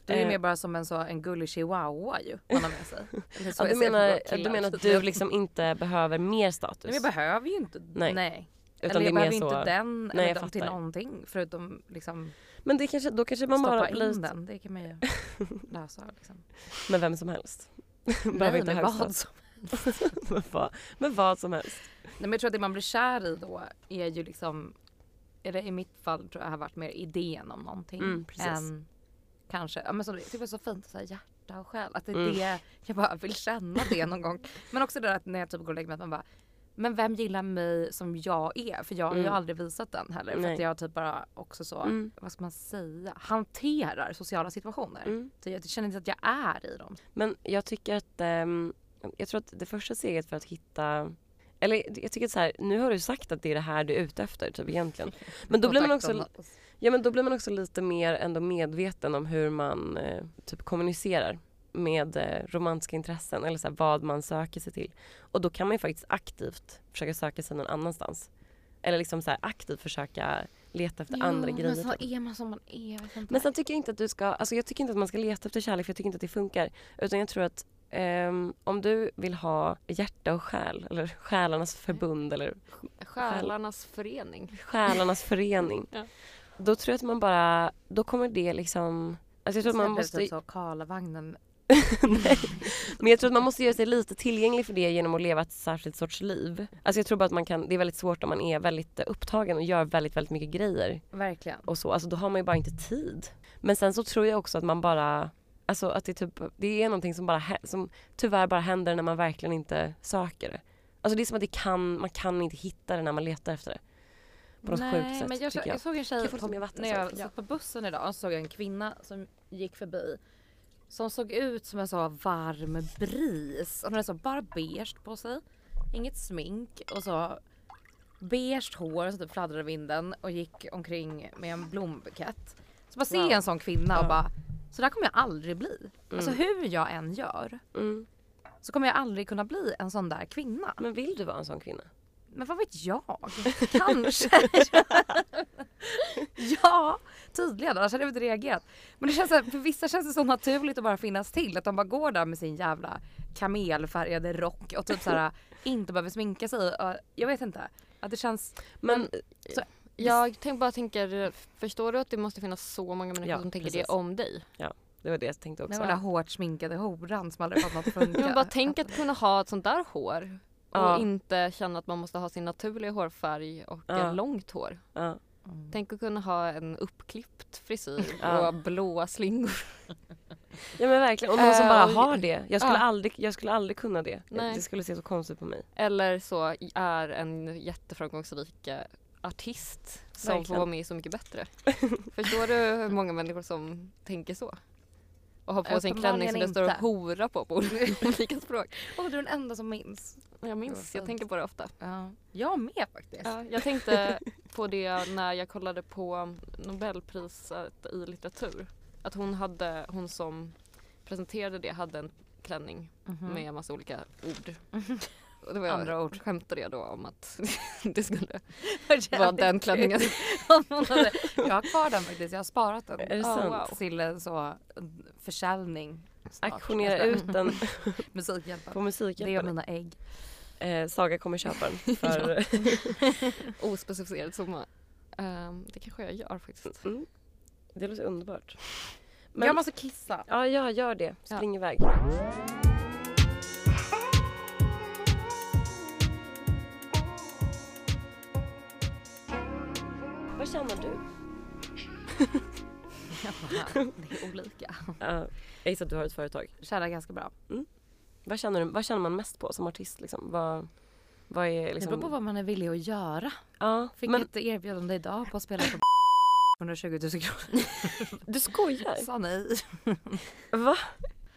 S1: Du är ju
S2: Eh.
S1: mer bara som en, så, en gullig chihuawa ju man har med
S2: *laughs*
S1: sig. Eller så
S2: Ja,
S1: är
S2: du,
S1: det säkert
S2: menar,
S1: bara killar.
S2: du
S1: *laughs*
S2: menar att du liksom inte behöver mer status?
S1: Nej, men jag behöver ju inte.
S2: Nej.
S1: Nej.
S2: utan
S1: eller
S2: det är
S1: jag
S2: mer
S1: behöver
S2: så...
S1: inte den
S2: Nej, jag
S1: eller dem till
S2: fattar.
S1: någonting förutom liksom
S2: Men det kanske, då kanske man bara
S1: stoppa
S2: blir
S1: in den. Det kan man ju lösa liksom.
S2: *laughs* med vem som helst. *laughs* Behöver
S1: Nej,
S2: inte
S1: men
S2: hög
S1: vad
S2: status.
S1: som-
S2: *laughs* med, vad, med vad som helst.
S1: Nej, men jag tror att det man blir kär i då är ju liksom, eller i mitt fall tror jag har varit mer idén om någonting.
S2: Mm, precis.
S1: än kanske, ja men som, det var så fint, så här, hjärta och själ. Att det är
S2: Mm.
S1: det, jag bara vill känna det någon gång. Men också det där att när jag typ går och lägger mig att man bara, men vem gillar mig som jag är? För jag har ju
S2: Mm.
S1: aldrig visat den heller. För
S2: Nej.
S1: att jag typ bara också så,
S2: Mm.
S1: vad ska man säga, hanterar sociala situationer.
S2: Mm.
S1: Så jag känner inte att jag är i dem.
S2: Men jag tycker att, ehm, jag tror att det första steget för att hitta eller jag tycker att så här, nu har du sagt att det är det här du är ute efter
S1: *laughs*
S2: typ egentligen. Men då blir man också,
S1: Kontakterna.
S2: ja, men då blir man också lite mer ändå medveten om hur man eh, typ kommunicerar med eh, romantiska intressen eller så här, vad man söker sig till. Och då kan man ju faktiskt aktivt försöka söka sig någon annanstans. Eller liksom så här, aktivt försöka leta efter
S1: Jo,
S2: andra grejer.
S1: Men
S2: typ.
S1: så är man som man är. jag vet inte.
S2: Men sen tycker jag inte att du ska, alltså jag tycker inte att man ska leta efter kärlek för jag tycker inte att det funkar. Utan jag tror att ehm, om du vill ha hjärta och själ eller själarnas förbund eller
S3: Själarnas förening.
S2: själarnas förening.
S3: Ja.
S2: Då tror jag att man bara, då kommer det liksom Alltså jag tror att man
S1: Sen blir det
S2: måste,
S1: Typ så Karlavagnen.
S2: men jag tror att man måste göra sig lite tillgänglig för det genom att leva ett särskilt sorts liv. Alltså jag tror bara att man kan, det är väldigt svårt om man är väldigt eh, upptagen och gör väldigt, väldigt mycket grejer.
S1: Verkligen.
S2: och så. Alltså då har man ju bara inte tid. Men sen så tror jag också att man bara, alltså att det, typ, det är någonting som, bara, hä- som tyvärr bara händer när man verkligen inte söker det. Alltså det är som att det kan, man kan inte hitta det när man letar efter det. På något sjukt sätt
S1: men jag, så,
S2: tycker
S1: jag
S2: jag.
S1: såg en tjej
S2: Jag får lite mer vatten,
S1: när jag
S2: sorry. Ja.
S1: satt på bussen idag så såg jag en kvinna som gick förbi som såg ut som en så varm bris. Hon hade så bara beige på sig, inget smink och så beige hår som typ fladdrade i vinden och gick omkring med en blombukett. Så bara se
S2: Wow.
S1: en sån kvinna och
S2: Ja.
S1: bara så där kommer jag aldrig bli. Alltså hur jag än gör
S2: Mm.
S1: så kommer jag aldrig kunna bli en sån där kvinna.
S2: Men vill du vara en sån kvinna?
S1: Men vad vet jag? Kanske. ja, tydligen. Annars hade jag inte reagerat. Men det känns så här, för vissa känns det så naturligt att bara finnas till. Att de bara går där med sin jävla kamelfärgade rock och typ så här, inte behöver sminka sig. Och Jag vet inte. Att det känns...
S2: Men,
S3: Jag tänk, bara tänker, förstår du att det måste finnas så många människor
S2: Ja,
S3: som tänker
S2: precis.
S3: det om dig?
S2: det Det var det jag tänkte
S1: Det
S2: också.
S1: var den där hårt sminkade horan som aldrig fått något att funka.
S3: Men bara tänk att kunna ha ett sånt där hår och
S2: Ja.
S3: inte känna att man måste ha sin naturliga hårfärg och
S2: Ja.
S3: eh, långt hår.
S2: Ja.
S1: Mm.
S3: Tänk att kunna ha en uppklippt frisyr
S2: Ja.
S3: och blåa slingor.
S2: ja men verkligen. Och någon som
S3: Eh,
S2: bara
S3: och-
S2: har det. Jag skulle,
S3: Ja.
S2: aldrig, jag skulle aldrig kunna det.
S3: Nej.
S2: Det skulle se så konstigt på mig.
S3: Eller så är en jätteframgångsrik eh, artist som får
S2: Verkligen.
S3: vara med i Så mycket bättre. Förstår du hur många människor som tänker så? Och har på sig en klänning som det står
S1: Uppenbarligen
S3: hora på på *laughs* olika språk.
S1: Åh, du är den enda som minns.
S3: Jag
S1: Det var
S3: minns,
S1: fint.
S3: jag tänker på det ofta.
S1: Ja. Jag med faktiskt.
S3: Ja, jag tänkte på det när jag kollade på Nobelpriset i litteratur. Att hon, hade, hon som presenterade det hade en klänning
S1: Mhm. *laughs*
S3: med en massa olika ord. Och det var
S1: Andra
S3: Mm. Mm-hmm. Andra ord. Skämtade jag då om att *laughs* det skulle *laughs*
S1: Vad
S3: vara
S1: jävligt
S3: den klänningen.
S1: Om någon hade- jag har kvar den faktiskt, jag har sparat den.
S2: Är det
S3: Ja,
S2: sant?
S3: wow.
S1: Till en så försäljning. snart.
S2: Auktionera ut den på
S1: Musikhjälpen. Det är
S2: Musikhjälpen.
S1: mina ägg.
S2: Eh, Saga kommer köpa den. För,
S3: Ospecificerad summa. Ehm, det kanske jag gör faktiskt.
S2: mm. Det låter underbart.
S1: Jag måste kissa.
S2: Ja, ja, gör det.
S3: Ja.
S2: Spring iväg. Vad känner du?
S1: *laughs* det är olika.
S2: Ja, jag gissar att du har ett företag.
S1: Tjänar ganska bra.
S2: Vad känner, du, vad känner man mest på som artist? Liksom? Vad, vad är
S1: Det
S2: liksom...
S1: beror på vad man är villig att göra.
S2: Ja,
S1: Fick
S2: men
S1: ett erbjudande idag på att spela
S2: *laughs*
S1: på 120 000 kronor.
S2: du skojar?
S1: Sa nej.
S2: Va?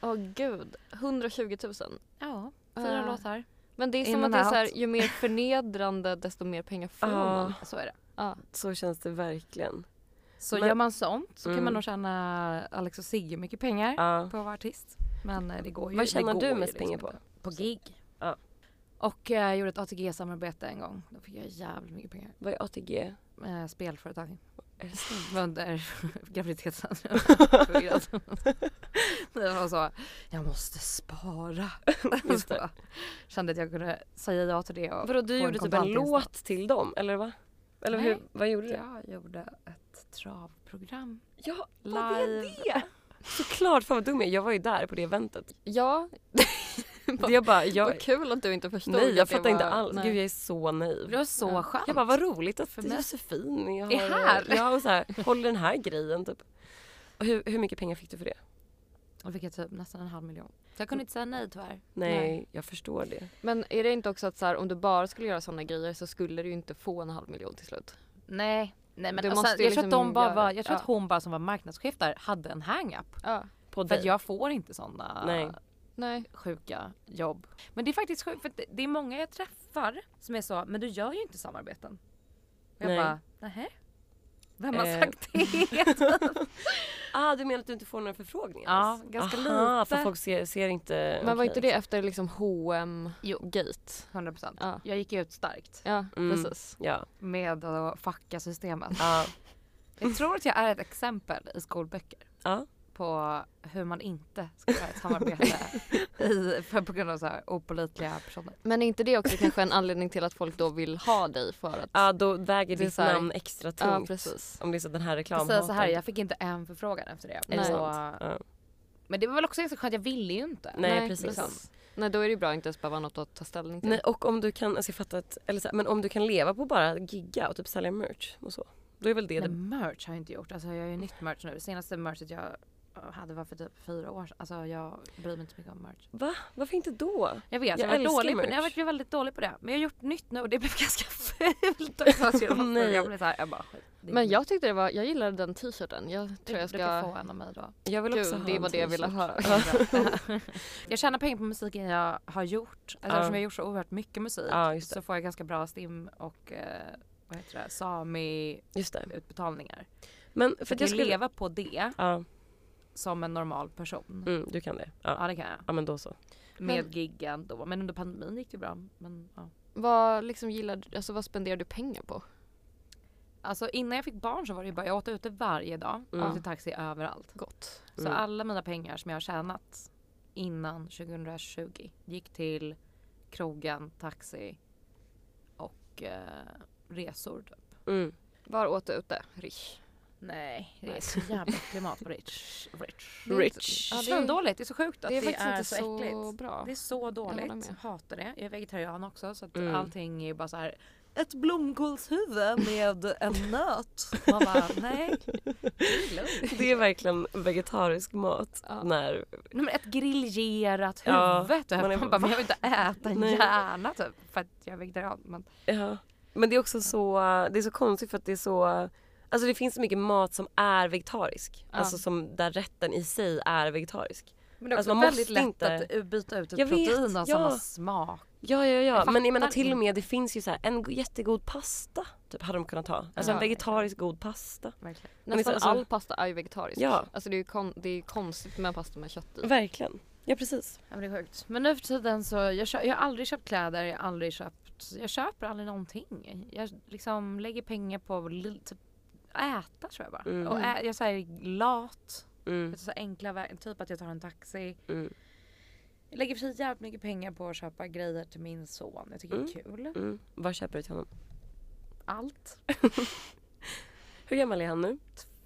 S3: Åh gud, 120 000.
S1: Ja, fyra
S3: Eh,
S1: låtar.
S3: Men det är
S1: In
S3: som att
S1: and
S3: det är
S1: out.
S3: så här, ju mer förnedrande desto mer pengar får man.
S2: Ja,
S1: Så är det.
S3: Ja.
S2: så känns det verkligen.
S1: Så
S2: Men-
S1: gör man sånt så kan
S2: Mm.
S1: man nog tjäna Alex och Sigge mycket pengar
S2: Ja.
S1: på att vara artist. Men eh, det går ju
S2: Vad tjänar
S1: det går
S2: du
S1: ju
S2: mest pengar
S1: liksom
S2: på?
S1: inte. På gig.
S2: Ja.
S1: Och eh, jag gjorde ett ATG-samarbete en gång. Då fick jag jävligt mycket pengar.
S2: Vad är ATG?
S1: Eh, spelföretag.
S2: Är det sant?
S1: Men *laughs* Under graviditeten. *laughs* Jag var förvirrad. Jag var så, jag måste spara.
S2: Just
S1: Så, *laughs* kände att jag kunde säga ja till det. Och
S2: Vadå, du
S1: få en
S2: gjorde typ en
S1: kontantinsats.
S2: låt till dem, eller va? Eller hur,
S1: Nej.
S2: vad gjorde du?
S1: typ Jag gjorde ett travprogram.
S2: Ja,
S1: Live.
S2: det? Såklart, fan vad dum jag är. Jag var ju där på det *laughs* eventet.
S3: Ja,
S2: Det jag bara, jag,
S3: Vad kul att du inte förstod.
S2: nej
S3: att
S2: jag
S3: det
S2: fattar inte
S3: var-
S2: alls.
S3: nej.
S2: Gud jag är så naiv.
S1: Det var så
S3: Ja.
S1: skönt.
S2: Jag bara, vad roligt att
S1: För mig.
S2: Josefin har,
S1: Är här.
S2: Ja, och så här, håller den här grejen typ. Och hur, hur mycket pengar fick du för det?
S1: Då fick jag typ nästan en halv miljon. Så jag kunde inte säga nej tyvärr.
S2: Nej,
S3: Nej.
S2: jag förstår det.
S3: Men är det inte också att så här, om du bara skulle göra sådana grejer så skulle du ju inte få en halv miljon till slut.
S1: Nej. Nej men
S3: Du
S1: och
S3: måste
S1: sen,
S3: ju
S1: jag tror att, de
S3: liksom
S1: bara
S3: göra-
S1: var, jag tror att
S3: ja.
S1: hon bara som var marknadschef där hade en hang-up.
S3: Ja.
S2: På
S1: För att
S2: dig.
S1: jag får inte sådana
S2: Nej.
S3: Nej.
S1: sjuka jobb. Men det är faktiskt sjukt för att det- det är många jag träffar som är så, men du gör ju inte samarbeten. Och jag
S2: Nej.
S1: bara, nähä? Vem har
S2: Eh.
S1: sagt
S2: *laughs*
S1: det? *laughs*
S2: Ah, du menar att du inte får några förfrågningar?
S1: Ja,
S2: alls?
S1: ganska
S2: Aha,
S1: lite.
S2: för folk ser, ser inte...
S3: Men var
S2: okej.
S3: inte det efter liksom H&M gate
S1: 100%.
S3: Ja.
S1: Jag gick ut starkt
S3: Ja,
S2: Mm.
S3: precis.
S2: Ja.
S1: med att fucka systemet.
S2: Ah.
S1: Jag tror att jag är ett exempel i skolböcker
S2: Ja.
S1: på hur man inte ska göra ett
S2: *laughs*
S1: samarbete i, för, på grund av så här opålitliga personer.
S3: Men är inte det också kanske en anledning till att folk då vill ha dig för att...
S2: Ja, då väger
S3: Det är
S2: ditt
S3: så här-
S2: namn extra Ah, tungt.
S3: ja precis.
S2: Om det är så att den här
S1: Jag
S2: reklamhataren...
S1: säger så här, jag fick inte en förfrågan efter det.
S3: Är det
S1: Så-
S2: sant? Ja.
S1: Men det var väl också ganska skönt, jag ville ju inte.
S2: Nej, precis.
S3: Nej då är det ju bra att inte ens behöva något att ta ställning till.
S2: Nej, och om du kan, alltså jag fattar att, eller så här, men om du kan leva på bara gigga och typ sälja merch och så. Då är väl det
S3: Mm.
S2: det
S1: Men merch har jag inte gjort. Alltså jag gör ju nytt merch nu. Senaste merchet jag hade var för typ fyra år sedan. Alltså jag bryr mig inte så mycket om merch.
S2: Va? Varför inte då?
S1: Jag vet, jag,
S2: Jag
S1: var
S2: älskar
S1: dålig på det.
S2: merch.
S1: Jag var väldigt dålig på det. Men jag har gjort nytt nu och det blev *laughs* ganska fult också.
S2: Nej.
S1: Jag blev så här, jag bara, skit. Det är
S3: Men
S1: inget.
S3: jag tyckte det var, jag gillade den t-shirten. Jag
S1: Du,
S3: tror jag
S1: du kan
S3: ska...
S1: få en av mig då.
S2: Jag vill också
S3: Gud,
S2: ha
S3: det
S2: en
S3: var det jag ville
S2: t-shirt.
S3: höra.
S2: *laughs*
S1: jag tjänar pengar på musiken jag har gjort. Alltså
S2: Ja.
S1: Eftersom jag har gjort så oerhört mycket musik
S2: Ja, just det.
S1: så får jag ganska bra STIM och eh, vad heter det, sami-utbetalningar.
S2: Just det. Men för
S1: Så
S2: att
S1: att
S2: jag
S1: jag
S2: skulle...
S1: leva på det
S2: Ja,
S1: som en normal person.
S2: mm, du kan det. Ja.
S1: Ja det kan jag.
S2: ja, men då så.
S1: Med
S3: Men-
S1: giggen då. Men under pandemin gick det bra. Men, ja.
S3: Vad liksom gillade, alltså vad spenderar du pengar på?
S1: Alltså innan jag fick barn så var det ju bara, jag åt ute varje dag.
S2: Mm.
S1: Åkte taxi överallt.
S3: Gott.
S1: Så
S2: Mm.
S1: alla mina pengar som jag har tjänat innan 2020 gick till krogen, taxi och eh, resor.
S2: Mm.
S3: *laughs* Var åt du ute? Rish.
S1: Nej, det
S3: Nej.
S1: är så *laughs* jävla klimat på Rich. Rich.
S3: Det är inte-
S2: Rich.
S3: Ja, det är-
S1: Svindåligt, det är så sjukt att
S3: Det är faktiskt inte
S1: så,
S3: så
S1: äckligt.
S3: bra.
S1: Det är så dåligt,
S3: håller med.
S1: hatar det. Jag är vegetarian också så att
S2: Mm.
S1: allting är ju bara så här ett blomkålshuvud med en nöt. Man bara nej, det är lugnt.
S2: Det är verkligen vegetarisk mat.
S3: Ja.
S2: När,
S1: Nej, men ett grillerat
S2: Ja,
S1: huvud. Ja,
S2: man
S1: man,
S2: är-
S1: bara, men jag vill inte äta en
S2: *laughs* Nej.
S1: hjärna typ för att jag är vegetarian. Men
S2: ja. Men det är också så, det är så konstigt för att det är så, alltså det finns så mycket mat som är vegetarisk.
S3: Ja.
S2: Alltså som, där rätten i sig är vegetarisk.
S1: Men det är
S2: Alltså,
S1: också
S2: man
S1: väldigt
S2: måste
S1: lätt
S2: inte-
S1: att uh, byta ut ett
S2: Jag vet,
S1: protein av samma
S2: ja.
S1: smak.
S2: Ja, ja, ja.
S1: Jag
S2: men jag
S1: fattar
S2: menar till och
S1: inte.
S2: med det finns ju så här, en go- jättegod pasta typ, hade de kunnat ha. Alltså
S1: Ja.
S2: en vegetarisk god pasta.
S1: Verkligen.
S2: Men
S3: Nästan
S2: alltså-
S3: all pasta är ju vegetarisk.
S2: Ja.
S3: Alltså det är ju kon- det är ju konstigt med pasta med kött i.
S2: Verkligen. Ja, precis.
S1: Ja, men det är sjukt. Men nu för tiden så jag, kö- jag har aldrig köpt kläder, jag har aldrig köpt, jag köper aldrig någonting. Jag liksom lägger pengar på li- typ, äta tror jag bara.
S2: Mm.
S1: Och ä, jag är så här lat,
S2: Mm,
S1: vet du, så här enkla vä- typ att jag tar en taxi.
S2: mm,
S1: Jag lägger precis jävligt mycket pengar på att köpa grejer till min son. Jag tycker det är kul.
S2: mm. Vad köper du till honom?
S1: Allt.
S2: Hur gammal är han nu?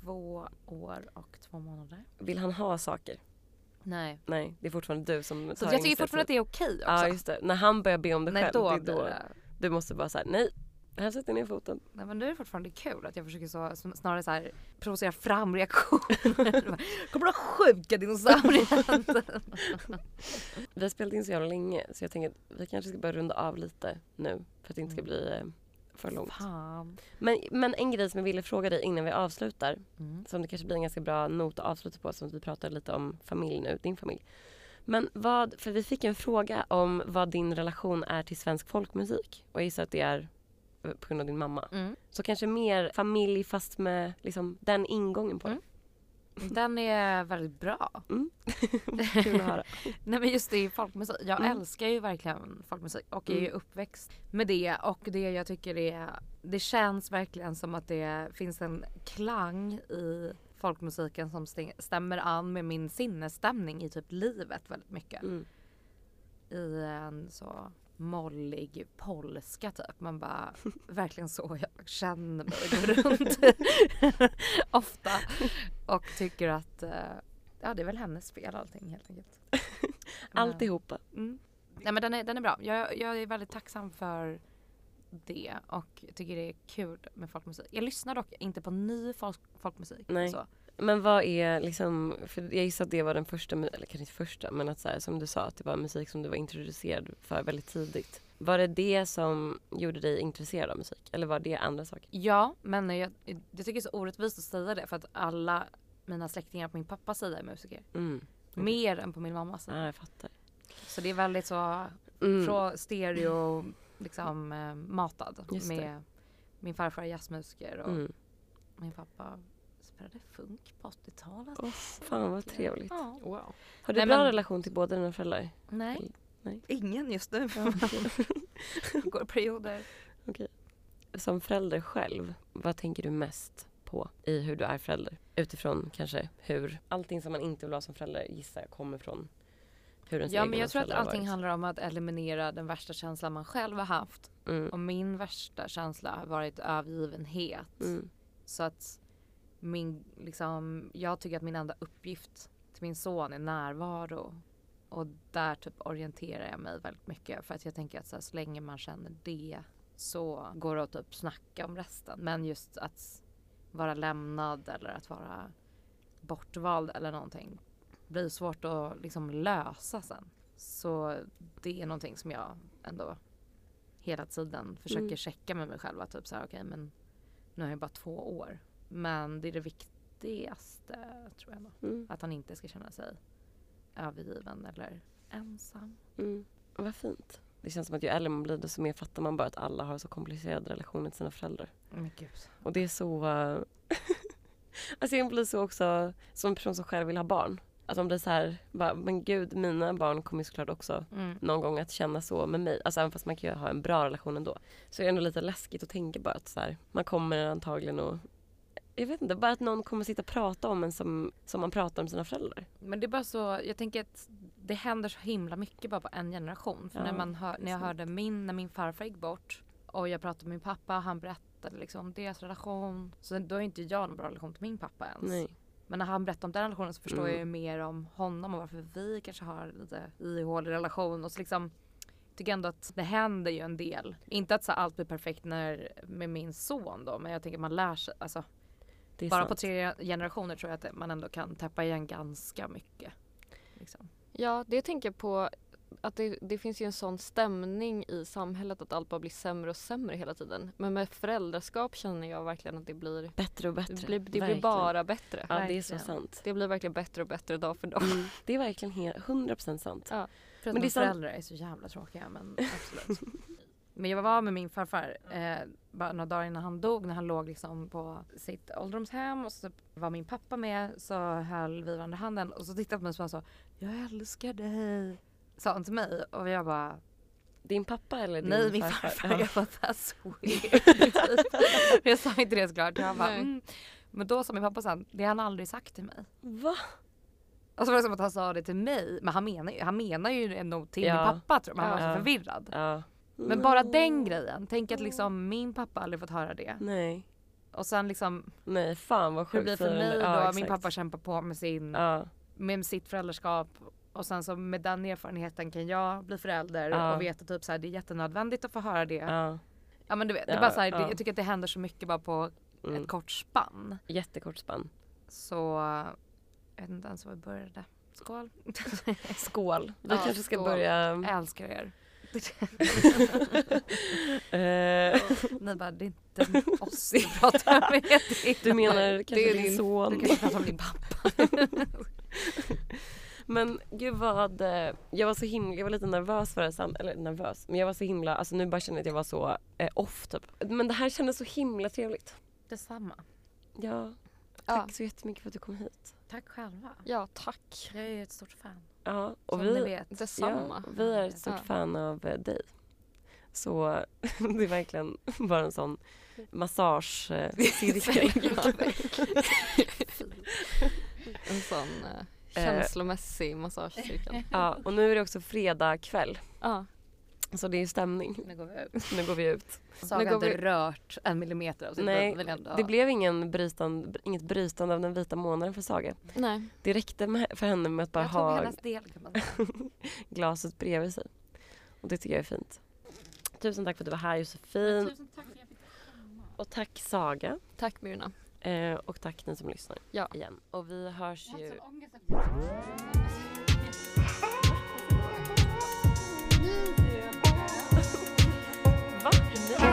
S1: Två år och två månader.
S2: Vill han ha saker?
S1: Nej.
S2: Nej, det är fortfarande du som
S1: Så jag tycker fortfarande att
S2: initiativ.
S1: det är okej också.
S2: Ja, just det. När han börjar be om det
S1: Nej,
S2: själv,
S1: då,
S2: det är
S1: blir
S2: då
S1: det.
S2: du måste bara säga nej. Här sätter jag ner foten.
S1: Nej men nu är det fortfarande kul att jag försöker så, sn- snarare så här, provocera fram
S2: *laughs*
S1: reaktioner. Kommer du ha sjuka dinosaurier?
S2: Vi har spelat in så jävla länge så jag tänker att vi kanske ska börja runda av lite nu för att det inte ska bli eh, för långt.
S1: Mm. Fan.
S2: Men, men en grej som jag ville fråga dig innan vi avslutar
S1: Mm.
S2: som det kanske blir en ganska bra not att avsluta på som vi pratade lite om familj nu, din familj. Men vad, för vi fick en fråga om vad din relation är till svensk folkmusik och jag gissar att det är eh, på grund av din mamma.
S1: Mm.
S2: Så kanske mer familj fast med liksom den ingången på det.
S1: Den är väldigt bra. Mm.
S2: Kul att höra.
S1: *laughs* Nej men just det, är folkmusik. Jag
S2: Mm.
S1: älskar ju verkligen folkmusik och är ju
S2: Mm.
S1: uppväxt med det och det jag tycker är, det känns verkligen som att det finns en klang i folkmusiken som stäng- stämmer an med min sinnesstämning i typ livet väldigt mycket.
S2: Mm.
S1: i en så mollig polska typ. Man bara,
S2: *laughs*
S1: verkligen så jag känner mig och går runt *laughs* ofta. Och tycker att eh, ja, det är väl hennes fel allting helt
S2: *laughs*
S1: enkelt.
S2: Alltihopa.
S1: Mm. Nej men den är, den är bra. Jag, jag är väldigt tacksam för det och tycker det är kul med folkmusik. Jag lyssnar dock inte på ny folk, folkmusik.
S2: Nej.
S1: Så.
S2: Men vad är liksom, för jag gissar att det var den första, mu- eller kanske inte första men att så här, som du sa att det var musik som du var introducerad för väldigt tidigt. Var det det som gjorde dig intresserad av musik eller var det andra saker?
S1: Ja, men jag, jag tycker det är så orättvist att säga det för att alla mina släktingar på min pappas sida är musiker.
S2: Mm. Okej.
S1: Mer än på min mammas sida.
S2: Ah, jag fattar.
S1: Så det är väldigt så
S2: Mm.
S1: från stereo liksom eh, matad
S2: Just det.
S1: med min farfar är jazzmusiker och
S2: Mm.
S1: min pappa spelade funk på 80-talet.
S2: Åh, fan vad trevligt.
S1: Ja.
S3: Wow.
S2: Har du
S1: Nej,
S2: bra
S1: men-
S2: relation till båda dina föräldrar?
S1: Nej.
S2: Nej.
S1: Ingen just nu. *laughs* Går i perioder.
S2: Som förälder själv, vad tänker du mest på i hur du är förälder? Utifrån kanske hur allting som man inte vill vara som förälder gissar jag kommer från hur ens
S1: Ja
S2: egna
S1: men jag tror att
S2: föräldrar har
S1: allting
S2: varit.
S1: handlar om att eliminera den värsta känslan man själv har haft.
S2: Mm.
S1: Och min värsta känsla har varit övergivenhet.
S2: Mm.
S1: Så att min, liksom, jag tycker att min enda uppgift till min son är närvaro. Och där typ orienterar jag mig väldigt mycket. För att jag tänker att så, här, så länge man känner det så går det att typ snacka om resten. Men just att vara lämnad eller att vara bortvald eller någonting blir svårt att liksom lösa sen. Så det är någonting som jag ändå hela tiden försöker
S2: Mm.
S1: checka med mig själv. Att typ så här, okej men nu har jag bara två år. Men det är det viktigaste tror jag. Ändå.
S2: Mm.
S1: Att han inte ska känna sig övergiven eller ensam.
S2: Mm. Vad fint. Det känns som att ju äldre man blir desto mer fattar man bara att alla har så komplicerade relationer till sina föräldrar.
S1: Men gud.
S2: Och det är så... eh, *laughs* alltså jag blir så också, som en person som själv vill ha barn. Att man blir så här, bara, men gud mina barn kommer ju såklart också
S1: Mm.
S2: någon gång att känna så med mig. Alltså även fast man kan ju ha en bra relation ändå. Så är det ändå lite läskigt att tänka bara att så här, man kommer antagligen och jag vet inte, bara att någon kommer sitta och prata om en som, som man pratar om sina föräldrar.
S1: Men det är bara så, jag tänker att det händer så himla mycket bara på en generation. För
S2: Ja,
S1: när, man hör, när jag
S2: sant.
S1: hörde min, när min farfar gick bort och jag pratade med min pappa och han berättade berättade liksom om deras relation. Så då är inte jag någon bra relation till min pappa ens.
S2: Nej.
S1: Men när han berättar om den relationen så förstår
S2: Mm.
S1: jag ju mer om honom och varför vi kanske har lite ihålig relation och så liksom tycker ändå att det händer ju en del. Inte att så här allt blir perfekt när, med min son då men jag tänker att man lär sig. Alltså,
S2: Det är
S1: bara
S2: sant.
S1: på tre generationer tror jag att man ändå kan täppa igen ganska mycket. Liksom.
S3: Ja, det tänker jag på att det, det finns ju en sån stämning i samhället att allt bara blir sämre och sämre hela tiden. Men med föräldraskap känner jag verligen att det blir,
S2: Bättre och bättre.
S3: det blir, det blir
S2: Verkligen.
S3: bara bättre.
S2: Ja, det är så
S1: Verkligen.
S2: sant.
S3: Det blir verkligen bättre och bättre dag för dag.
S2: Mm. Det är verkligen he- 100% sant.
S3: Ja.
S1: För att
S2: Men det
S1: mina
S2: är sant-
S1: föräldrar är så jävla tråkiga men absolut. *laughs* men jag var med min farfar eh, bara några dagar innan han dog när han låg liksom på sitt ålderdomshem och så var min pappa med så höll vi varandra handen och så tittade han på mig och så sa han så, jag älskar dig. Sa han till mig och jag bara
S2: Din pappa eller din
S1: nej min farfar *laughs*
S2: Ja.
S1: jag bara that's weird. jag sa inte det såklart. Jag bara,
S3: Nej.
S1: mm. Men då sa min pappa sen det har han aldrig sagt till mig.
S2: Va?
S1: Och så var det som att han sa det till mig men han menar ju, han menar ju nog till
S2: Ja.
S1: min pappa tror jag men han var
S2: Ja.
S1: så förvirrad.
S2: Ja.
S1: Men bara den grejen. Tänk att liksom min pappa aldrig fått höra det.
S2: Nej.
S1: Och sen liksom
S2: Nej, fan vad sjukt.
S1: hur det blir för mig då.
S2: Ja,
S1: min
S2: exakt.
S1: pappa kämpar på med, sin,
S2: Ja,
S1: med sitt föräldraskap. Och sen så med den erfarenheten kan jag bli förälder
S2: Ja.
S1: och veta typ så här, det är jättenödvändigt att få höra det. Ja,
S2: ja.
S1: men du vet, det
S2: Ja,
S1: är bara så här,
S2: ja.
S1: det, jag tycker att det händer så mycket bara på
S2: Mm.
S1: ett kort spann. *laughs*
S2: Jättekort spann.
S1: Så jag vet inte ens var vi började. Skål!
S2: Mm. Skål. Vi
S3: Ja,
S2: kanske ska
S3: skål.
S2: börja...
S1: *laughs* Jag älskar er.
S2: *laughs*
S1: *laughs*
S2: eh,
S1: Ni bara, det är inte oss du pratar med. det är-
S2: du menar kanske
S3: är
S2: din,
S3: din-
S2: son?
S1: Du kanske pratar om din pappa.
S2: Men gud vad, eh, jag var så himla, jag var lite nervös för det här sam- eller nervös, men jag var så himla, alltså nu bara känner jag att jag var så eh, off typ. Men det här kändes så himla trevligt.
S1: Detsamma.
S2: Ja,
S3: Ja,
S2: tack så jättemycket för att du kom hit.
S1: Tack själva.
S3: ja tack.
S1: Jag är ju ett stort fan.
S2: Ja, och
S1: Som
S2: vi,
S1: ni vet.
S3: Detsamma. *laughs*
S2: Ja, vi är ett stort
S3: Ja.
S2: fan av eh, dig. Så *laughs* det är verkligen *laughs* bara en sån eh,
S1: *laughs*
S2: massagecirkel.
S3: *laughs* En sån eh,
S2: *laughs*
S3: känslomässig *laughs* massagecirkel.
S2: ja, och nu är det också fredag kväll,
S3: Ja,
S2: så det är ju stämning.
S1: Nu
S2: *laughs*
S1: går vi ut.
S2: Nu går vi
S1: *laughs*
S2: ut.
S1: Saga
S3: går
S1: har inte
S3: vi-
S1: rört en millimeter av sitt
S2: Nej,
S1: liv, vill jag ändå.
S2: det blev ingen brytande, inget brytande av den vita månaden för Saga.
S3: nej.
S2: Det räckte med, för henne med att bara
S1: jag tog
S2: ha
S1: hennes del kan man säga.
S2: glaset bredvid sig. Och det tycker jag är fint. Tusen tack för att du var här Josefin.
S1: Tusen tack för att jag fick
S2: Och tack Saga.
S3: Tack Myrna.
S2: Eh, och tack ni som lyssnar
S3: Ja.
S2: igen. Och vi hörs ju...
S1: ångest
S2: Va? Nej.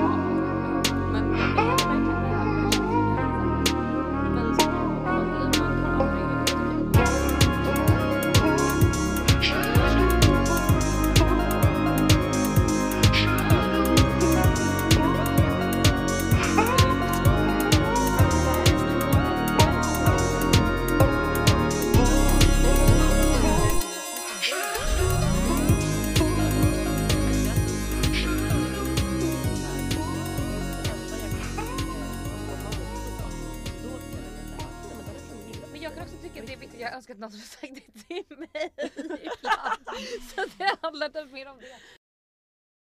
S3: Men jag är verkligen jävla Men så- man blir- man tar aldrig in det, tycker jag.
S1: Men jag kan också tycka att det är viktigt, jag önskar att någon hade sagt det till mig ibland. Så det handlar typ mer om det